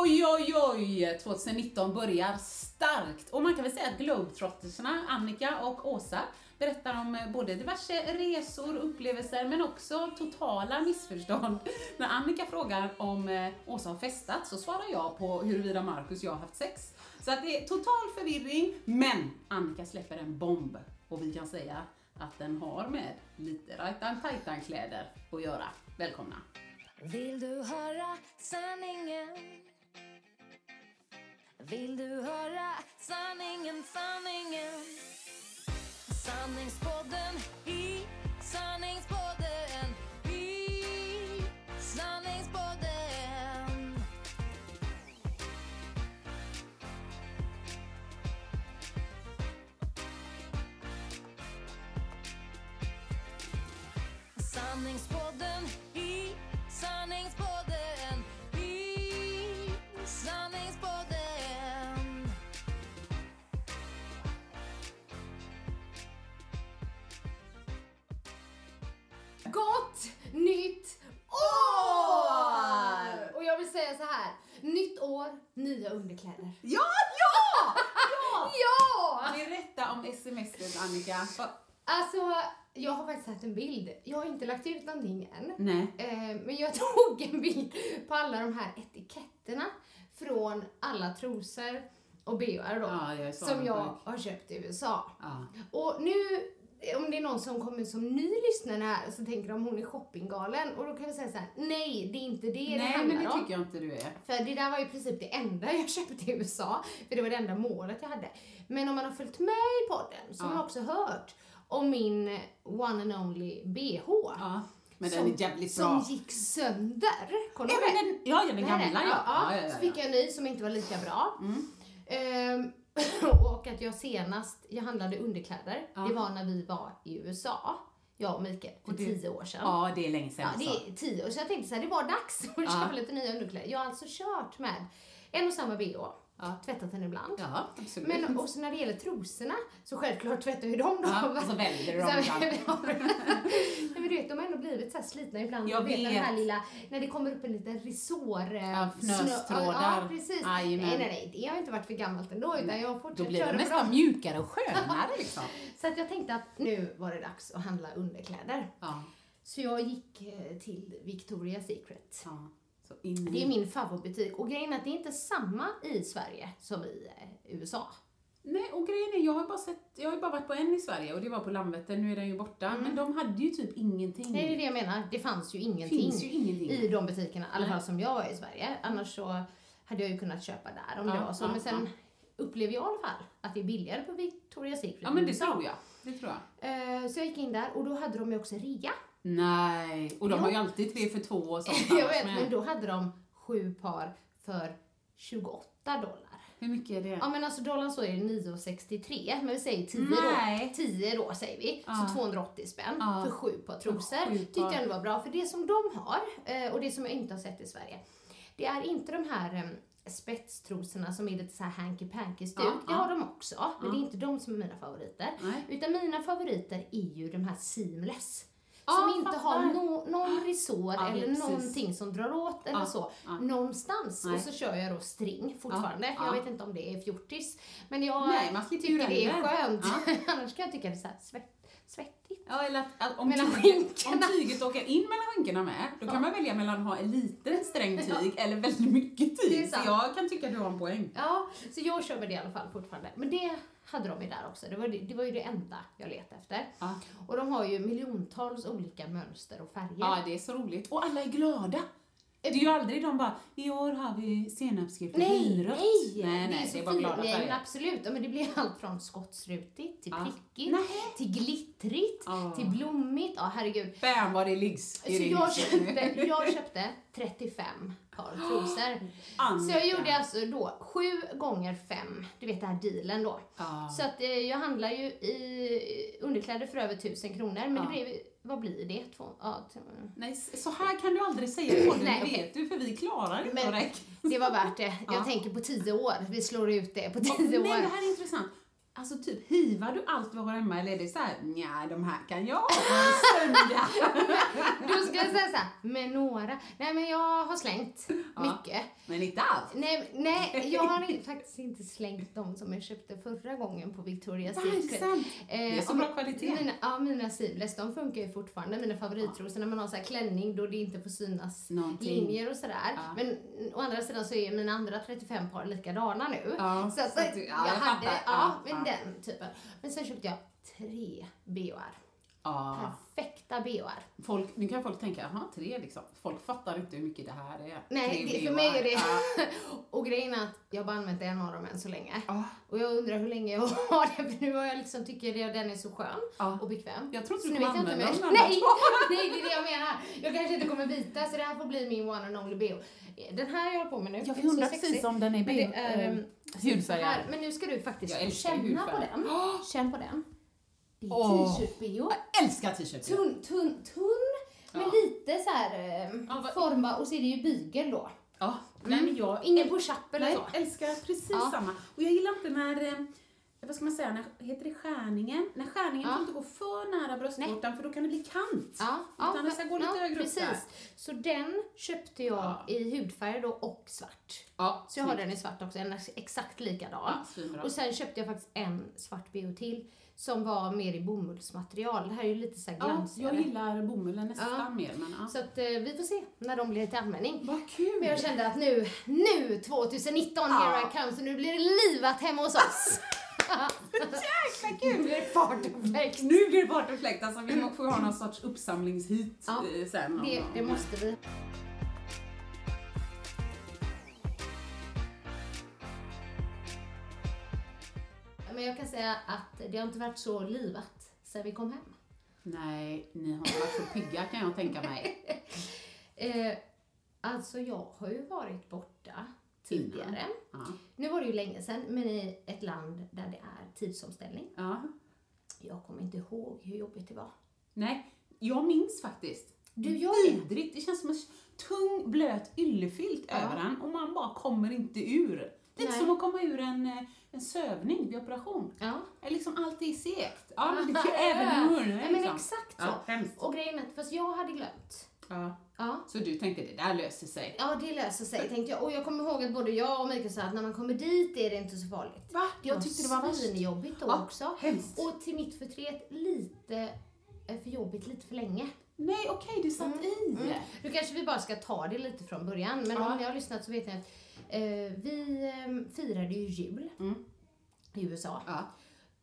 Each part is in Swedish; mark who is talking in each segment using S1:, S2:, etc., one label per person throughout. S1: Oj, oj, oj! 2019 börjar starkt. Och man kan väl säga att globetrottersarna, Annika och Åsa, berättar om eh, både diverse resor, upplevelser, men också totala missförstånd. När Annika frågar om eh, Åsa har festat så svarar jag på huruvida Marcus och jag har haft sex. Så att det är total förvirring, men Annika släpper en bomb. Och vi kan säga att den har med lite rajtan tajtan kläder att göra. Välkomna!
S2: Vill du höra sanningen? Vill du höra sanningen, sanningen? Sanningspodden i sanningspodden i sanningspodden Sanningspodden i sanningspodden i sanningspodden
S3: Gott nytt år! Och jag vill säga så här. Nytt år, nya underkläder.
S1: Ja, ja!
S3: Ja!
S1: Berätta om smset Annika. Va-
S3: Alltså, jag har faktiskt sett en bild. Jag har inte lagt ut någonting än.
S1: Nej.
S3: Eh, Men jag tog en bild på alla de här etiketterna från alla trosor och bhar då.
S1: Ja, jag är så
S3: som jag
S1: avundsjuk.
S3: har köpt i USA.
S1: Ja.
S3: Och nu, om det är någon som kommer som ny lyssnare här så tänker de hon är shoppinggalen. Och då kan vi säga så här: nej det är inte det det
S1: Nej,
S3: handlar
S1: men det
S3: om.
S1: tycker jag inte du är.
S3: För det där var i princip det enda jag köpte i USA, för det var det enda målet jag hade. Men om man har följt med i podden så har man också hört om min one and only bh.
S1: Ja, men
S3: som-
S1: den är jävligt
S3: Som
S1: bra.
S3: gick sönder. Kolla
S1: Ja, men den, ja, ja, den gamla ja. ja, ja,
S3: Så
S1: ja, Mm.
S3: fick jag en ny som inte var lika bra. Ehm, och att jag senast jag handlade underkläder,
S1: Ja.
S3: det var när vi var i USA, jag och Mikael, för
S1: Och du-
S3: tio år sedan.
S1: ja, det är länge sedan
S3: Ja, det
S1: alltså.
S3: är tio år, så jag tänkte så här, det var dags att
S1: Ja.
S3: köpa lite nya underkläder. Jag har alltså kört med en och samma bh, tvättat den ibland.
S1: Ja, absolut.
S3: Men också när det gäller trosorna, så självklart tvättar ju dem då.
S1: Ja, och så väljer du dem
S3: Så-
S1: ibland.
S3: Nej men du vet, de har ändå blivit så här slitna ibland.
S1: Jag
S3: Du vet. Den
S1: vet.
S3: här lilla, när det kommer upp en liten risor... eh,
S1: Ja, fnöstrådar.
S3: snö- Ja, precis. Nej,
S1: Jajamän.
S3: nej, nej, det har inte varit för gammalt ändå, utan jag har
S1: Då
S3: fortsatt
S1: blir
S3: köra
S1: den
S3: bra.
S1: nästan mjukare och skönare liksom.
S3: Så att jag tänkte att nu var det dags att handla underkläder.
S1: Ja,
S3: Så jag gick eh, till Victoria's Secret.
S1: ja. Så in
S3: Det är
S1: i...
S3: min favoritbutik och grejen är att det är inte samma i Sverige som i eh, USA.
S1: Nej, och grejen är, jag har, bara sett, jag har ju bara varit på en i Sverige och det var på Landvetter, nu är den ju borta. Men de hade ju typ ingenting.
S3: Mm. Nej, det är det jag menar. Det fanns ju
S1: det
S3: ingenting.
S1: finns ju ingenting.
S3: i de butikerna, i alla
S1: Nej.
S3: fall som jag var i Sverige. Annars så hade jag ju kunnat köpa där om
S1: Ja,
S3: det var så.
S1: ja,
S3: men sen
S1: ja.
S3: upplever jag i alla fall att det är billigare på Victoria's Secret.
S1: Ja, men det
S3: än så.
S1: tror jag. Det tror jag.
S3: Eh, Så jag gick in där och då hade de ju också rea.
S1: Nej, och de
S3: Jo.
S1: har ju alltid tre för två och sånt
S3: jag
S1: annars
S3: vet,
S1: med.
S3: men då hade de sju par för 28 dollar.
S1: Hur mycket är det?
S3: Ja men alltså dollarn så är det 9,63 men vi säger 10
S1: Nej.
S3: då. 10 då säger vi.
S1: Ja.
S3: Så 280 spänn
S1: Ja.
S3: för sju par trosor.
S1: sju par.
S3: Tyckte jag ändå var bra för det som de har eh, och det som jag inte har sett i Sverige. Det är inte de här em, spetstrosorna som är lite så här hanky panky stuk.
S1: Ja, ja.
S3: det har de också men
S1: Ja.
S3: det är inte de som är mina favoriter.
S1: Nej.
S3: Utan mina favoriter är ju de här seamless.
S1: Ja,
S3: Som inte har
S1: fattar.
S3: no, någon resår
S1: Ja,
S3: eller
S1: precis.
S3: någonting som drar åt eller
S1: Ja,
S3: så.
S1: ja.
S3: Någonstans.
S1: Nej.
S3: Och så kör jag då string fortfarande.
S1: Ja, ja.
S3: Jag vet inte om det är fjortis. Men jag
S1: Nej, man slipper ju
S3: tycker det är
S1: det heller.
S3: skönt. Annars kan jag tycka det är så här svett, svettigt.
S1: Ja, eller att, att om,
S3: Mellan
S1: tyget, om
S3: skinkorna.
S1: tyget åker in mellan skinkorna med, då kan man välja mellan att ha en liten sträng tyg eller väldigt mycket
S3: Det är
S1: tyg. Så
S3: sant.
S1: jag kan tycka du har en poäng.
S3: Ja, så jag kör med det i alla fall fortfarande. Men det hade de ju där också. Det var, ju- det var ju det enda jag letade efter.
S1: Ja.
S3: Och de har ju miljontals olika mönster och färger.
S1: ja, det är så roligt. Och alla är glada. Det är ju aldrig de bara, i år har vi senapsgult och
S3: Nej,
S1: vinrött.
S3: nej,
S1: nej,
S3: det är
S1: nej,
S3: så
S1: är bara
S3: fint.
S1: glada
S3: Nej, men
S1: färger.
S3: absolut. Ja, men det blir allt från skottsrutigt till
S1: Ja.
S3: prickigt, till glittrigt,
S1: Ja.
S3: till blommigt. Ja, herregud.
S1: Bam vad det liggs i
S3: Så
S1: det
S3: jag
S1: huset nu.
S3: köpte, jag köpte 35 par trosor. Så jag
S1: Annika.
S3: gjorde alltså då 7 gånger 5, du vet den här dealen då.
S1: Ja.
S3: Så att eh, jag handlar ju i underkläder för över 1000 kronor, men det blev, vad blir det? Två, ja, t-
S1: Nej, s- så här kan du aldrig säga på
S3: Nej,
S1: det
S3: okej.
S1: vet du, för vi klarar inte
S3: Men-
S1: att räkna.
S3: det var värt det. Jag
S1: Ja.
S3: tänker på 10 år, vi slår ut det på 10
S1: Men det
S3: år.
S1: här är intressant. Alltså typ, hivar du allt vi har hemma eller är det så här, nja, de här kan jag ha på en söndag.
S3: Då ska jag säga såhär, med några. Nej men jag har slängt mycket.
S1: Men inte allt.
S3: Nej, nej, jag har i- faktiskt inte slängt de som jag köpte förra gången på Victoria's
S1: Va, Ah, är det
S3: Secret. Eh,
S1: sant? Det är så
S3: om-
S1: bra kvalitet.
S3: Mina, ja, mina seamless, de funkar ju fortfarande. Mina favoritrosor när man har så här klänning då det inte får synas
S1: Någonting.
S3: linjer och sådär.
S1: Ja.
S3: Men mm, å andra sidan så är ju mina andra 35 par likadana nu.
S1: Ja,
S3: så att,
S1: så att du- ja,
S3: jag,
S1: jag
S3: hade,
S1: fattar.
S3: ja,
S1: Ja,
S3: men
S1: ja.
S3: den typen. Men sen köpte jag tre BHR.
S1: Ja.
S3: Perfekta BHR.
S1: Folk, nu kan folk tänka, jaha, tre liksom. Folk fattar inte hur mycket det här är.
S3: Nej,
S1: Tre
S3: det, för
S1: VHR.
S3: mig är det...
S1: Ja.
S3: och grejen är att jag har bara använt en av dem än så länge.
S1: Ja.
S3: Och jag undrar hur länge jag har den, för nu har jag liksom tycker jag den är så skön
S1: Ja.
S3: och bekväm.
S1: Jag tror inte
S3: Så
S1: du
S3: nu
S1: kommer
S3: vet jag
S1: använda
S3: inte
S1: dem
S3: om jag- Nej, nej, det är det jag menar. Jag kanske inte kommer byta, så det här får bli min one and only bh. Den här jag håller på med nu,
S1: Jag
S3: den är så
S1: undrar
S3: sexig.
S1: precis om den är
S3: Men det
S1: bio-
S3: är,
S1: eh,
S3: ehm,
S1: hudfärgad.
S3: här. Men nu ska du
S1: Jag
S3: faktiskt
S1: älskar
S3: känna på
S1: hudfärg.
S3: den. Känn på den. Det är
S1: Åh.
S3: t-shirt-bh.
S1: Jag älskar t-shirt.
S3: Tunn, tunn, tunn. Men
S1: Ja.
S3: lite så här ehm,
S1: Ja, vad-
S3: formbar och så är det ju bygel då.
S1: Ja. Nej, men jag
S3: Ingen Mm. push-up eller
S1: Nej,
S3: så.
S1: älskar precis
S3: Ja.
S1: samma. Och jag gillar inte när, eh, vad ska man säga, när, heter det skärningen? När skärningen
S3: Ja.
S1: får inte gå för nära bröstvårtan för då kan det bli kant.
S3: Ja,
S1: Utan
S3: ja,
S1: det ska gå lite högre upp där.
S3: precis. Så den köpte jag
S1: Ja.
S3: i hudfärg då och svart.
S1: Ja,
S3: Så jag har den i svart också, den är exakt likadan.
S1: Ja, svinbra.
S3: och sen köpte jag faktiskt en svart bio till som var mer i bomullsmaterial. Det här är ju lite så här
S1: Ja,
S3: glansigare.
S1: jag gillar bomullen nästan
S3: Ja.
S1: mer. Men, ja.
S3: Så att eh, vi får se när de blir till användning.
S1: Vad kul!
S3: Men jag kände att nu, nu 2019 here I come, så nu blir det livat hemma hos oss.
S1: Jäkla kul!
S3: blir det fart och fläkt.
S1: Nu blir det fart och fläkt, alltså vi må- får ha någon sorts uppsamlingshit
S3: Ja,
S1: eh, sen. någon
S3: Det,
S1: gång.
S3: det måste vi. Men jag kan säga att det har inte varit så livat sen vi kom hem.
S1: Nej, ni har varit så pigga kan jag tänka mig.
S3: Eh, alltså jag har ju varit borta tidigare.
S1: Ja.
S3: Nu var det ju länge sedan, men i ett land där det är tidsomställning.
S1: Ja.
S3: Jag kommer inte ihåg hur jobbigt det var.
S1: Nej, jag minns faktiskt.
S3: Du gör det?
S1: Vidrigt, det känns som en tung blöt yllefilt över den och man bara kommer inte ur. Lite
S3: Nej.
S1: som att komma ur en, eh, en sövning vid operation.
S3: Ja.
S1: Eller liksom allt är segt. Ja, men det kan även i munnen.
S3: Nej, men
S1: liksom.
S3: exakt så.
S1: Ja, hemskt.
S3: och grejen är att, fast jag hade glömt.
S1: Ja.
S3: Ja.
S1: Så du tänkte det där löser sig.
S3: Ja, det löser sig tänkte jag. Och jag kommer ihåg att både jag och Mikael sa att när man kommer dit är det inte så farligt.
S1: Va? Jag tyckte det var värst.
S3: jobbigt då
S1: Ja,
S3: också.
S1: hemskt.
S3: Och till mitt förtret lite eh, för jobbigt lite för länge.
S1: Nej, okej, du satt i.
S3: Nu kanske vi bara ska ta det lite från början, men
S1: Ja.
S3: om ni har lyssnat så vet ni att eh, vi eh, firade ju jul
S1: Mm.
S3: i USA,
S1: Ja.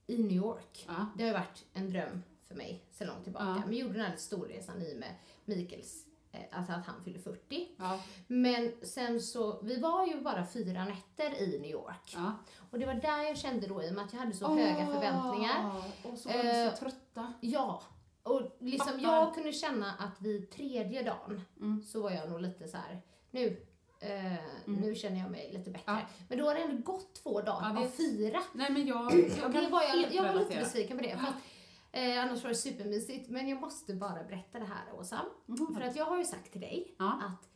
S3: i New York.
S1: Ja.
S3: Det har ju varit en dröm för mig sedan långt tillbaka.
S1: Ja.
S3: Men vi gjorde den här storresan i och med Mikaels, eh, alltså att han fyllde 40.
S1: Ja.
S3: Men sen så, vi var ju bara fyra nätter i New York.
S1: Ja.
S3: Och det var där jag kände då i och med att jag hade så höga
S1: Åh,
S3: förväntningar.
S1: Ah, Och så var vi
S3: Eh,
S1: så trötta.
S3: Ja. Och liksom
S1: Fattar. Mm.
S3: jag kunde känna att vid tredje dagen så var jag nog lite så här. nu, eh, nu känner jag mig lite bättre.
S1: Ja.
S3: Men då har det ändå gått två dagar
S1: Ja,
S3: av
S1: vet.
S3: fyra.
S1: Nej, men jag, jag,
S3: Och
S1: kan
S3: det var jag,
S1: helt
S3: jag var lite
S1: relatera.
S3: besviken på det. För att, eh, annars var det supermysigt. Men jag måste bara berätta det här Åsa. För att jag har ju sagt till dig
S1: Mhm, Ja.
S3: att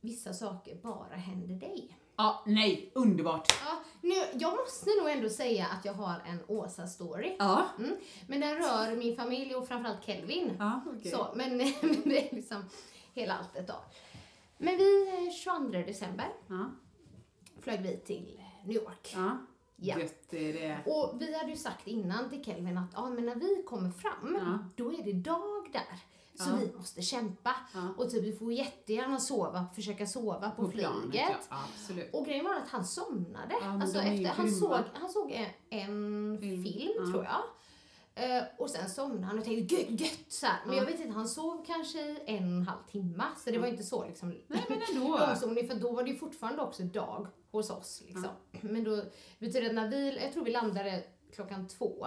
S3: vissa saker bara händer dig.
S1: Ja, nej, underbart.
S3: Ja, nu, jag måste nog ändå säga att jag har en Åsa-story.
S1: Ja.
S3: Mm. Men den rör min familj och framförallt Kelvin.
S1: Ja, okej.
S3: Så, men men det är liksom hela alltet då. Men vi, eh, 22 december,
S1: Ja.
S3: flög vi till eh, New York.
S1: Ja.
S3: Ja.
S1: Gött är det.
S3: Och vi hade ju sagt innan till Kelvin att ah, men när vi kommer fram,
S1: Ja.
S3: då är det dag där. Så
S1: Ja.
S3: vi måste kämpa.
S1: Ja.
S3: Och typ, vi får jättegärna sova, försöka sova på, flyget.
S1: planet, ja. Ja, absolut.
S3: Och grejen var att han somnade.
S1: Ja, men
S3: alltså
S1: de är ju
S3: efter, han,
S1: grymma.
S3: såg, han såg en- en film,
S1: ja.
S3: tror jag. Eh, och sen somnade han och tänkte gött, gött så här. Men jag vet inte, han sov kanske i en och en halv timme. Så det var inte så liksom
S1: Nej, men ändå.
S3: långsomning. För då var det ju fortfarande också dag hos oss. Liksom. Men då betyder det att när vi, jag tror vi landade klockan två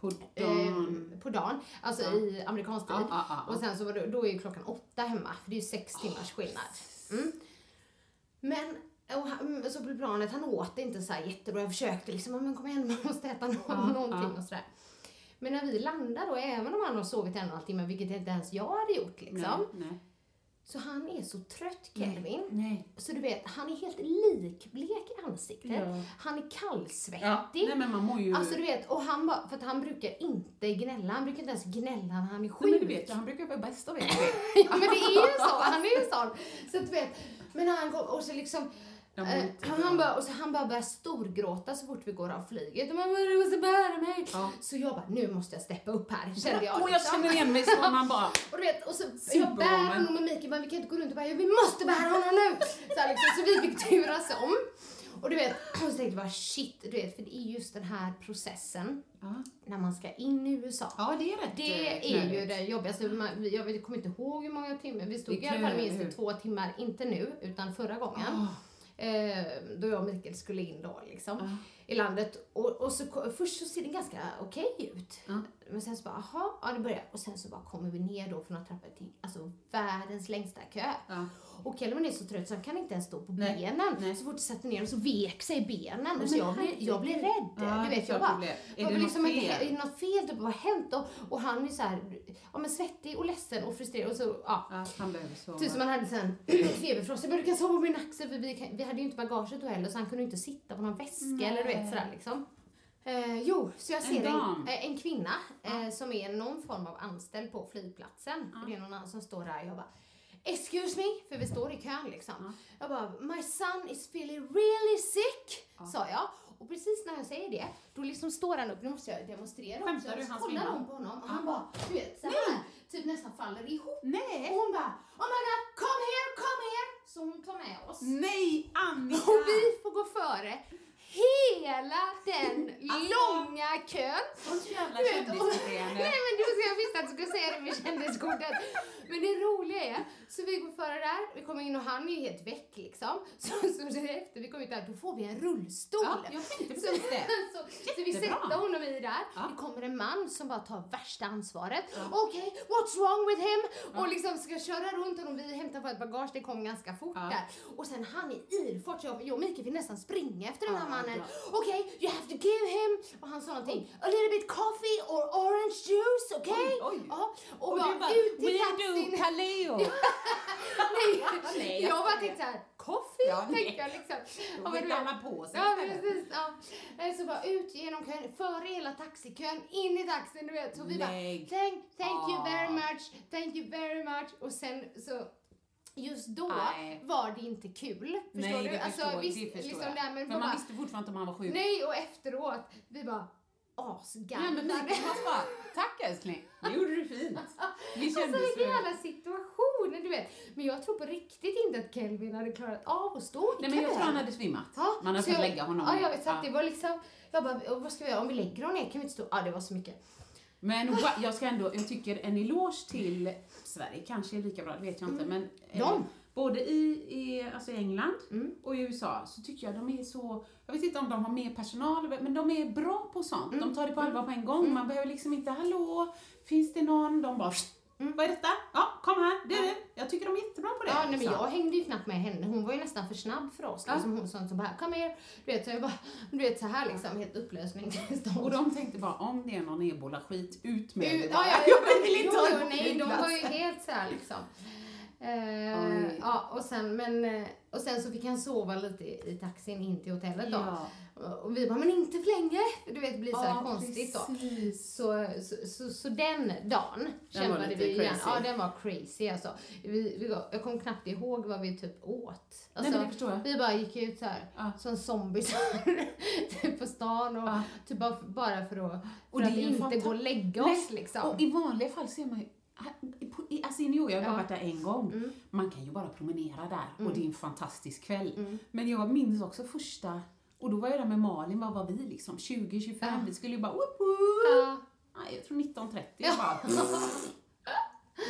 S1: På dagen.
S3: eh, på dagen, alltså
S1: Ja.
S3: i amerikansk tid.
S1: Ja, ja, ja, ja.
S3: Och sen så var det, då är ju klockan åtta hemma, för det är ju sex timmars skillnad. Mm. Men och han, mm, så blev planet, han åt inte så här jättebra. Jag försökte liksom, "Ja, men kom igen, man måste äta nå-
S1: Ja,
S3: någonting
S1: ja.
S3: och sådär. Men när vi landar då, även om han har sovit en och en halv timme, vilket inte ens jag hade gjort liksom.
S1: Nej.
S3: Så han är så trött Kelvin.
S1: Nej.
S3: Så du vet, han är helt likblek i ansiktet.
S1: Ja.
S3: Han är kallsvettig.
S1: Ja. Nej men man mår ju...
S3: Alltså du vet, och han bara, för att han brukar inte gnälla, han brukar inte ens gnälla när han är
S1: Nej,
S3: sjuk.
S1: men du vet ju, han brukar vara bäst av er.
S3: ja, men det är ju så, han är ju sån. Så att du vet, men när han kom och så liksom,
S1: De
S3: eh,
S1: är inte-
S3: han, bara, och så han bara börjar storgråta så fort vi går av flyget. Och man bara, du måste bära mig.
S1: Ja.
S3: Så jag bara, nu måste jag steppa upp här, kände jag.
S1: Åh, jag
S3: liksom.
S1: känner igen mig så man bara...
S3: Och du vet, och så jag
S1: Superwoman.
S3: bär honom och Mikael bara, vi kan inte gå runt och bara, vi måste bära honom nu! Så, här, liksom, så vi fick turas om. Och du vet, och så tänkte jag bara shit, du vet, för det är just den här processen
S1: Ja,
S3: när man ska in i USA.
S1: ja det är rätt eh,
S3: Det är ju
S1: knöligt.
S3: det jobbigaste. Man- vi- Jag vet- kommer inte ihåg hur många timmar. Vi stod
S1: Det
S3: i alla fall
S1: kan-
S3: minst i
S1: hur?
S3: två timmar. Inte nu, utan förra gången. Eh, då jag och Mikael skulle in då liksom. I landet. Och, och så, ko- först så ser det ganska okej ut.
S1: Ja.
S3: Men sen så bara, aha, ja det börjar. Och sen så bara kommer vi ner då från några trappor till alltså världens längsta kö.
S1: Ja.
S3: Och Kelvin är så trött så han kan inte ens stå på
S1: Nej,
S3: benen.
S1: nej.
S3: Så fort jag satte ner dem så vek sig benen. Och så
S1: men
S3: jag, blev, jag blev rädd.
S1: Ja, det
S3: du
S1: är
S3: vet,
S1: klart
S3: jag
S1: du
S3: bara,
S1: blev. Är
S3: jag
S1: det
S3: blev liksom
S1: något
S3: inte,
S1: fel?
S3: är det något fel? Typ, vad har hänt? Och, och han är så här, ja, men svettig och ledsen och frustrerad. Och så, ja.
S1: Ja, han behöver sova.
S3: Typ som han hade sen feberfrossa. Men du kan sova på min axel för vi, kan, vi hade ju inte bagaget då heller så han kunde inte sitta på någon väska eller du vet sådär liksom. Eh, jo, så jag
S1: En
S3: ser en,
S1: dam.
S3: eh, en kvinna eh, som är någon form av anställd på flygplatsen. För det är någon annan som står där jag bara Excuse me, för vi står i kön liksom. Jag bara, my son is feeling really sick, sa jag. Och precis när jag säger det, då liksom står han upp, nu måste jag demonstrera också.
S1: Skämtar du,
S3: Så
S1: han
S3: kollar
S1: svimmar?
S3: hon på honom och han bara, du vet såhär, typ nästan faller ihop.
S1: Nej.
S3: Och hon bara, oh my god, come here, come here! Så hon tar med oss.
S1: Mm. Nej, Annika!
S3: Och vi får gå före hela den
S1: Alltså-
S3: långa kön.
S1: Sånt jävla
S3: Du vet, och-
S1: kändisbeteende.
S3: Nej men du ska jag visste att du skulle säga det med kändiskortet. Men det roliga är, så vi går före där, vi kommer in och han är ju helt väck liksom. Så, så därefter vi kommer ut där, då får vi en rullstol.
S1: Ja, jag tänkte precis det.
S3: Så, så vi
S1: Jättebra.
S3: sätter honom i där.
S1: Ja.
S3: Det kommer en man som bara tar värsta ansvaret. Okej, what's wrong with him? Och liksom ska köra runt honom. Vi hämtar vårt bagage, det kom ganska fort
S1: Ja.
S3: där. Och sen han i ilfart, så jag, jag och Mikael fick nästan springa efter den här
S1: Ja,
S3: mannen.
S1: bra.
S3: Okej, you have to give him. Och han sa någonting, a little bit coffee or orange juice, okej?
S1: Oj, oj.
S3: Ja, och,
S1: Och
S3: bara,
S1: du bara,
S3: ut i
S1: we
S3: taxin.
S1: do paleo.
S3: Nej,
S1: Nej,
S3: jag
S1: jag
S3: bara
S1: skojar.
S3: tänkte såhär, coffee?
S1: Ja, nej.
S3: tänkte jag liksom. Ja, men
S1: vill
S3: du vet-
S1: alla på sig
S3: Ja,
S1: istället.
S3: precis. Ja. Eh, Så bara ut genom kön, före hela taxikön, in i taxin, du vet. Så vi
S1: Lägg
S3: bara, thank, thank you very
S1: av.
S3: much, thank you very much. Och sen så Just då
S1: Nej.
S3: var det inte kul. Förstår
S1: Nej,
S3: du?
S1: det
S3: alltså,
S1: förstår, jag,
S3: visst,
S1: det förstår
S3: liksom
S1: jag.
S3: Det här, men
S1: För
S3: bara,
S1: man visste fortfarande inte om han var sjuk.
S3: Nej, och efteråt, vi bara
S1: Nej, men
S3: asgarvade.
S1: Mikael han bara, tack älskling, det gjorde du fint. Vi
S3: Alltså
S1: kändes
S3: vilken
S1: väl-
S3: jävla situation, du vet. Men jag tror på riktigt inte att Kelvin hade klarat av att stå i
S1: Nej men jag
S3: kön.
S1: tror han hade svimmat.
S3: Ja,
S1: Man hade
S3: så
S1: fått
S3: jag-
S1: lägga honom.
S3: Ja, jag vet. Så att
S1: Ja.
S3: det var liksom, jag bara, "Och vad ska vi göra? Om vi lägger honom ner kan vi inte stå... Ja, det var så mycket.
S1: Men wa- jag ska ändå, jag tycker en eloge till Sverige kanske är lika bra, det vet jag inte. Men eh,
S3: Mm. De?
S1: både i, i alltså i England
S3: Mm.
S1: och i USA så tycker jag de är så, jag vet inte om de har mer personal, men de är bra på sånt.
S3: Mm.
S1: De tar det på allvar på en gång. Man behöver liksom inte, hallå, finns det någon? De bara, vad är detta? Ja, kom här, det är det. Jag tycker de är jättebra på det.
S3: Mm. Ja, nej, men
S1: Så.
S3: jag hängde ju knappt med henne. Hon var ju nästan för snabb för oss.
S1: Ja.
S3: Liksom, hon sa som bara, kom här. Du vet, så jag bara, du vet så här liksom, helt
S1: Och
S3: upplösningstillstånd.
S1: de tänkte bara, om det är någon ebola-skit, ut med det
S3: Ja, ja,
S1: bara.
S3: ja,
S1: Jag vill inte
S3: jo,
S1: ha
S3: jo,
S1: det på
S3: Nej, de
S1: flygplats.
S3: var ju helt så här liksom. Eh,
S1: Oj.
S3: ja, och, sen, men, eh, och sen så fick han sova lite i, i taxin in till hotellet då.
S1: Ja.
S3: Och vi bara, men inte för länge. Du vet, det blir så här
S1: Ja,
S3: konstigt då.
S1: precis.
S3: Så, så, så, så den dagen
S1: var
S3: kämpade
S1: lite
S3: vi igen.
S1: crazy.
S3: Ja, den var crazy alltså. Vi, vi, jag kommer knappt ihåg vad vi typ åt.
S1: Nej,
S3: Alltså,
S1: men det förstår jag.
S3: Vi bara gick ut så här
S1: Ja.
S3: som zombies typ på stan och
S1: Ja.
S3: typ bara, bara för att, för
S1: Och det
S3: att
S1: är ju
S3: inte
S1: fanta-
S3: gå och lägga
S1: Nej,
S3: oss liksom.
S1: Och i vanliga fall så är man ju i- på- i- Alltså i New York, jag har
S3: Ja. Mm.
S1: varit där en gång, man kan ju bara promenera där och det är en fantastisk kväll.
S3: Mm.
S1: Men jag minns också första, och då var jag där med Malin, vad var vi liksom? 20, 25, vi skulle ju bara whoop, whoop.
S3: Ja.
S1: Nej, jag tror 19.30. Jag bara...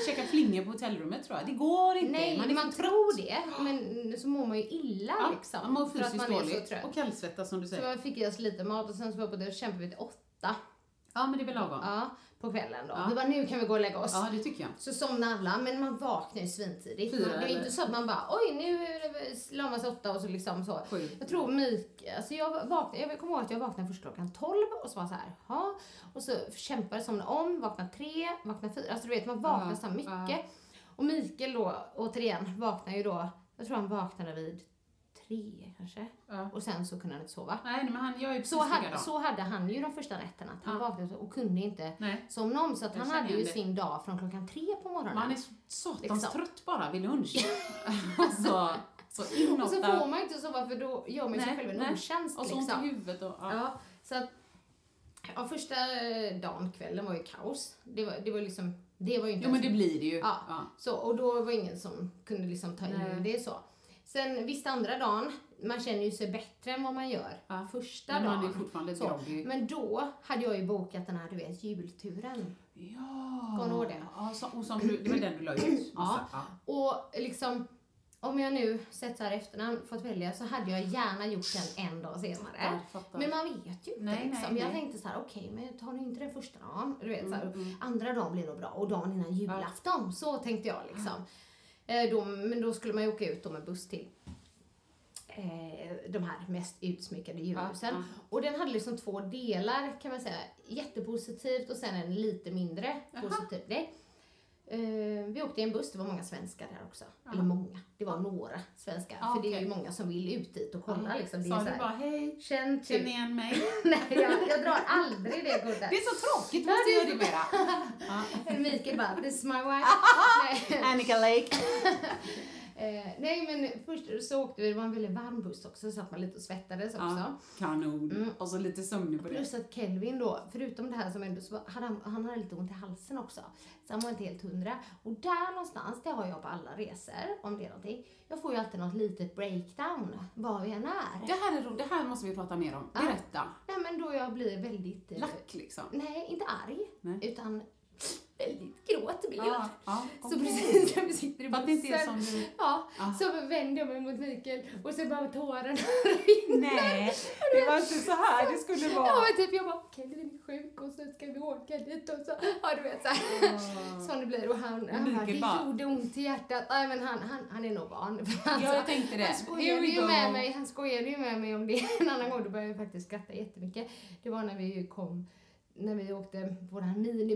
S1: Käka flingor på hotellrummet tror jag. Det går inte.
S3: Nej,
S1: man
S3: man,
S1: är för trött.
S3: tror det, men så mår man ju illa
S1: Ja,
S3: liksom.
S1: Man mår
S3: för att
S1: fysiskt
S3: man är så
S1: dåligt.
S3: trött.
S1: Och kallsvettas som du
S3: Så
S1: säger.
S3: man fick i oss lite mat och sen så var vi på det och kämpade vi till åtta
S1: Ja, men det är väl lagom.
S3: ja, på kvällen då.
S1: Ja.
S3: Vi bara, nu kan vi gå och lägga oss.
S1: Ja, det tycker jag.
S3: Så somnar alla, men man vaknar ju svintidigt.
S1: Fyra,
S3: Man, det är ju
S1: eller?
S3: inte så att man bara, oj nu är det- la man sig åtta och så liksom så.
S1: Sju.
S3: Jag tror Mik, alltså jag vaknade, jag kommer ihåg att jag vaknade först klockan 12 och så var så här, ha. Och så kämpade somnade om, vaknade tre, vaknade fyra. Alltså du vet man vaknar
S1: Ja,
S3: så här mycket. Och Mikael då, återigen, vaknade ju då, jag tror han vaknade vid tre kanske.
S1: Ja.
S3: Och sen så kunde han inte sova.
S1: Nej, men han, jag är precis
S3: Så hade,
S1: likadan.
S3: så hade han ju de första nätterna. Att han
S1: Ja.
S3: vaknade och kunde inte
S1: Nej.
S3: somna om. Så att
S1: Jag
S3: han
S1: känner
S3: hade ju
S1: igen det.
S3: sin dag från klockan tre på morgonen.
S1: Man är så- satans
S3: Liksom.
S1: trött bara vid lunch. alltså, så
S3: Och
S1: inåt
S3: så
S1: där.
S3: får man ju inte sova för då gör man ju sig
S1: Nej,
S3: själv en
S1: nej.
S3: otjänst.
S1: Och så ont i
S3: liksom.
S1: huvudet och... Ja.
S3: ja, så att, ja, första eh, dagen, kvällen var ju kaos. Det var, det var liksom, det var ju inte
S1: Jo, men
S3: ens-
S1: det blir det ju.
S3: Ja.
S1: Ja.
S3: Så, och då var ingen som kunde liksom ta in
S1: Nej.
S3: det så. Sen visst andra dagen, man känner ju sig bättre än vad man gör
S1: Ja.
S3: första
S1: Men
S3: dagen.
S1: man är fortfarande
S3: så.
S1: groggy.
S3: Men då hade jag ju bokat den här du vet, julturen.
S1: Ja.
S3: Kommer du ihåg det?
S1: Ja, så, och som du, det var den du la ut.
S3: Ja.
S1: Ja.
S3: Och liksom, om jag nu sett så här i efterhand fått välja så hade jag gärna gjort den en dag senare.
S1: Ja, fattar.
S3: Men man vet ju inte.
S1: Nej,
S3: liksom.
S1: nej,
S3: jag
S1: nej. Mm,
S3: tänkte så här, okej, men tar ni inte den första dagen? Du vet, så här, Andra dagen blir nog bra och dagen innan julafton. Så tänkte jag liksom. Eh, då, men då skulle man ju åka ut då med buss till eh, de här mest utsmyckade djurhusen.
S1: Ja,
S3: Och den hade liksom två delar kan man säga. Jättepositivt och sen en lite mindre positiv del. Eh, vi åkte i en buss, det var många svenskar där också. Eller många, det var några svenskar.
S1: Ja,
S3: för det är ju
S1: okej.
S3: många som vill ut dit och kolla liksom. Det är
S1: Sa
S3: så
S1: du
S3: här,
S1: bara hej?
S3: Känn till
S1: Känner igen mig?
S3: Nej, jag, jag drar aldrig det Gudde.
S1: Det är så tråkigt,
S3: Nej,
S1: måste
S3: det är
S1: jag det mera.
S3: Mikael bara, this is my wife. nej.
S1: Annika Lake.
S3: Eh, nej men först så åkte vi, det var en väldigt varm buss också så att man lite och svettades också. Mm.
S1: Ja, kanon. Och så lite sömnig på det.
S3: Plus att Kelvin då, förutom det här som ändå, så var- hade han, han hade lite ont i halsen också. Så han var inte helt hundra. Och där någonstans, det har jag på alla resor, om det är någonting. Jag får ju alltid något litet breakdown, var vi än är.
S1: Det här, är ro, det här måste vi prata mer om.
S3: Ja.
S1: Berätta.
S3: Nej men då jag blir väldigt... eh,
S1: Lack liksom.
S3: Nej, inte arg.
S1: Nej.
S3: Utan väldigt gråtmild.
S1: Ja, ja,
S3: Så
S1: okej.
S3: precis när vi sitter i
S1: För att det inte är
S3: bussen,
S1: som du-
S3: Ja,
S1: Ja.
S3: så vänder jag mig mot Mikael och så bara tårarna rinner.
S1: Nej, det var inte så här det skulle vara.
S3: Ja, men typ jag bara, okej Linn är sjuk och så ska vi åka dit och så, ja du vet så här. Som det blir och han, han bara,
S1: Mikael
S3: det
S1: bara-
S3: gjorde ont i hjärtat. Nej men han, han, han är nog van. Alltså,
S1: jag tänkte det.
S3: Han skojade ju
S1: Here we
S3: med
S1: go.
S3: mig, han skojade ju med mig om det en annan gång. Då började jag faktiskt skratta jättemycket. Det var när vi ju kom, när vi åkte på vår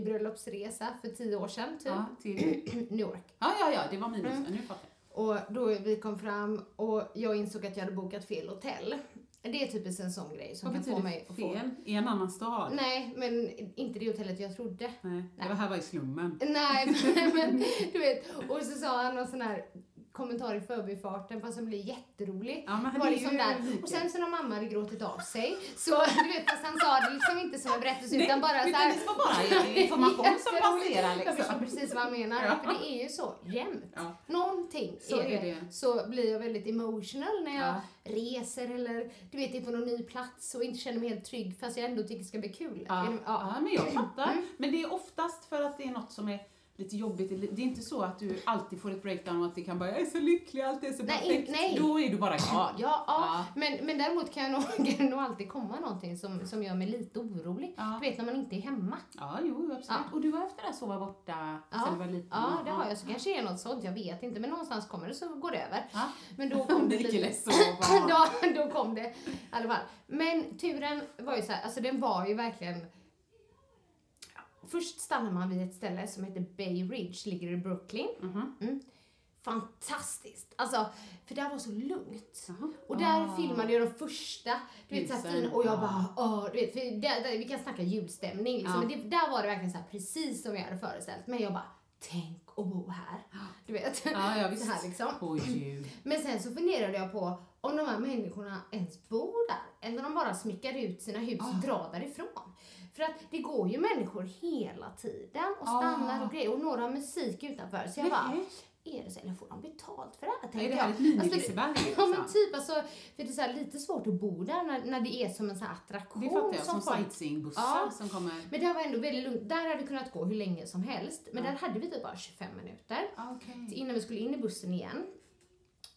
S3: minibröllopsresa för tio år sedan typ.
S1: Ja, till,
S3: New York.
S1: ja, ja, ja, det var minus.
S3: Mm.
S1: Nu fattar
S3: Och då vi kom fram och jag insåg att jag hade bokat fel hotell. Det är typiskt en sån grej
S1: jag.
S3: som
S1: Vad
S3: kan få mig
S1: betyder
S3: att få...
S1: fel? I en annan stad?
S3: Nej, men inte det hotellet jag trodde.
S1: Nej. Det här var i slummen.
S3: Nej, men, men du vet. Och så sa han någon sån här kommentar i förbifarten fast som blir jätterolig.
S1: Ja, men han
S3: det var
S1: är
S3: liksom
S1: ju
S3: där.
S1: lite.
S3: Och sen så när mamma hade gråtit av sig så du vet fast han sa det liksom inte som en berättelse utan bara så
S1: utan
S3: här.
S1: det var bara information som
S3: Jätteroligt.
S1: passerar
S3: Jag förstår
S1: liksom.
S3: precis vad han menar.
S1: Ja.
S3: För det är ju så jämt.
S1: Ja.
S3: Någonting
S1: Så
S3: är
S1: är
S3: det.
S1: det.
S3: Så blir jag väldigt emotional när jag
S1: Ja.
S3: reser eller du vet är på någon ny plats och inte känner mig helt trygg fast jag ändå tycker det ska bli kul.
S1: Ja,
S3: Är det-
S1: ja. men jag fattar.
S3: Mm.
S1: Men det är oftast för att det är något som är lite jobbigt. Det är inte så att du alltid får ett breakdown och att det kan bara, jag är så lycklig, allt är så
S3: Nej,
S1: perfekt.
S3: nej.
S1: Då är du bara glad.
S3: Ja, ja.
S1: Ja.
S3: Men, men däremot kan jag nog, kan det nog alltid komma någonting som, som gör mig lite orolig.
S1: Ja.
S3: Du vet när man inte är hemma.
S1: Ja, jo, absolut.
S3: Ja.
S1: Och du har efter det här sova borta
S3: Ja,
S1: sen du var liten?
S3: ja det har jag. Så kanske det är något sånt, jag vet inte. Men någonstans kommer det så går det över.
S1: Ja.
S3: Men då kom det
S1: Mikael
S3: lite...
S1: är så van.
S3: då, då kom det i alla fall. Men turen var ju så här, alltså den var ju verkligen... Först stannar man vid ett ställe som heter Bay Ridge, ligger i Brooklyn. Mm. Fantastiskt! Alltså, för där var så lugnt. Och där filmade jag de första, du vet såhär
S1: Ah. Ljusen.
S3: fin, och jag
S1: Ja.
S3: bara åh, du vet, för där, där, vi kan snacka julstämning liksom.
S1: Ja.
S3: Men det, där var det verkligen såhär precis som jag hade föreställt mig. Jag bara, tänk att bo här. Du vet.
S1: Ja, ja
S3: Så här
S1: visst.
S3: liksom.
S1: På jul.
S3: Men sen så funderade jag på om de här människorna ens bor där eller om de bara smickar ut sina hus
S1: Ah.
S3: och drar därifrån. För att det går ju människor hela tiden och
S1: Ah.
S3: stannar och grejer och några har musik utanför. Så jag
S1: Nej.
S3: bara, är det så här, nu får de betalt för det här,
S1: Är
S3: tänkte
S1: det här
S3: jag.
S1: ett mini
S3: Alltså, det-
S1: Liseberg?
S3: Ja
S1: liksom?
S3: men typ alltså, för det är så här lite svårt att bo där när, när det är som en sån här attraktion
S1: Det fattar jag, som
S3: folk-
S1: sightseeingbussar
S3: Ja.
S1: som kommer...
S3: Men det här var ändå väldigt lugnt, där hade vi kunnat gå hur länge som helst, men
S1: Ja.
S3: där hade vi typ bara 25 minuter
S1: Ah, Okej.
S3: innan vi skulle in i bussen igen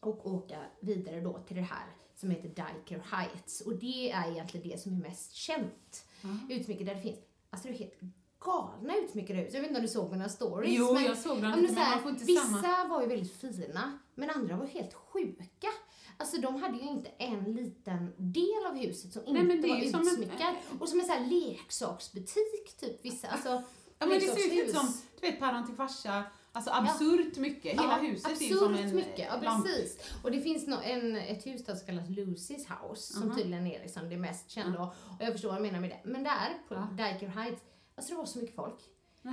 S3: och åka vidare då till det här som heter Diker Heights och det är egentligen det som är mest känt
S1: Ah.
S3: utsmycke där det finns, alltså det är helt galna utsmyckade hus. Jag vet inte om du såg mina stories.
S1: Jo, jag såg dem
S3: ja,
S1: lite,
S3: så
S1: men
S3: här,
S1: man får inte
S3: Vissa
S1: samma-
S3: var ju väldigt fina, men andra var helt sjuka. Alltså de hade ju inte en liten del av huset som
S1: men
S3: inte
S1: det är
S3: var
S1: ju som en-
S3: utsmyckad. Och som en sån här leksaksbutik typ, vissa. Alltså,
S1: Ja, men det ser ut
S3: leksakshus.
S1: lite som, du vet, Päron till farsa. Alltså absurt mycket. Hela
S3: Ja,
S1: huset är ju
S3: absurt
S1: som en eh,
S3: mycket. Ja,
S1: lamp.
S3: precis. Och det finns nå- en, ett hus där som kallas Lucy's House, som tydligen är liksom det mest kända. Och jag förstår vad de menar med det. Men där, på Diker Heights, alltså det var så mycket folk.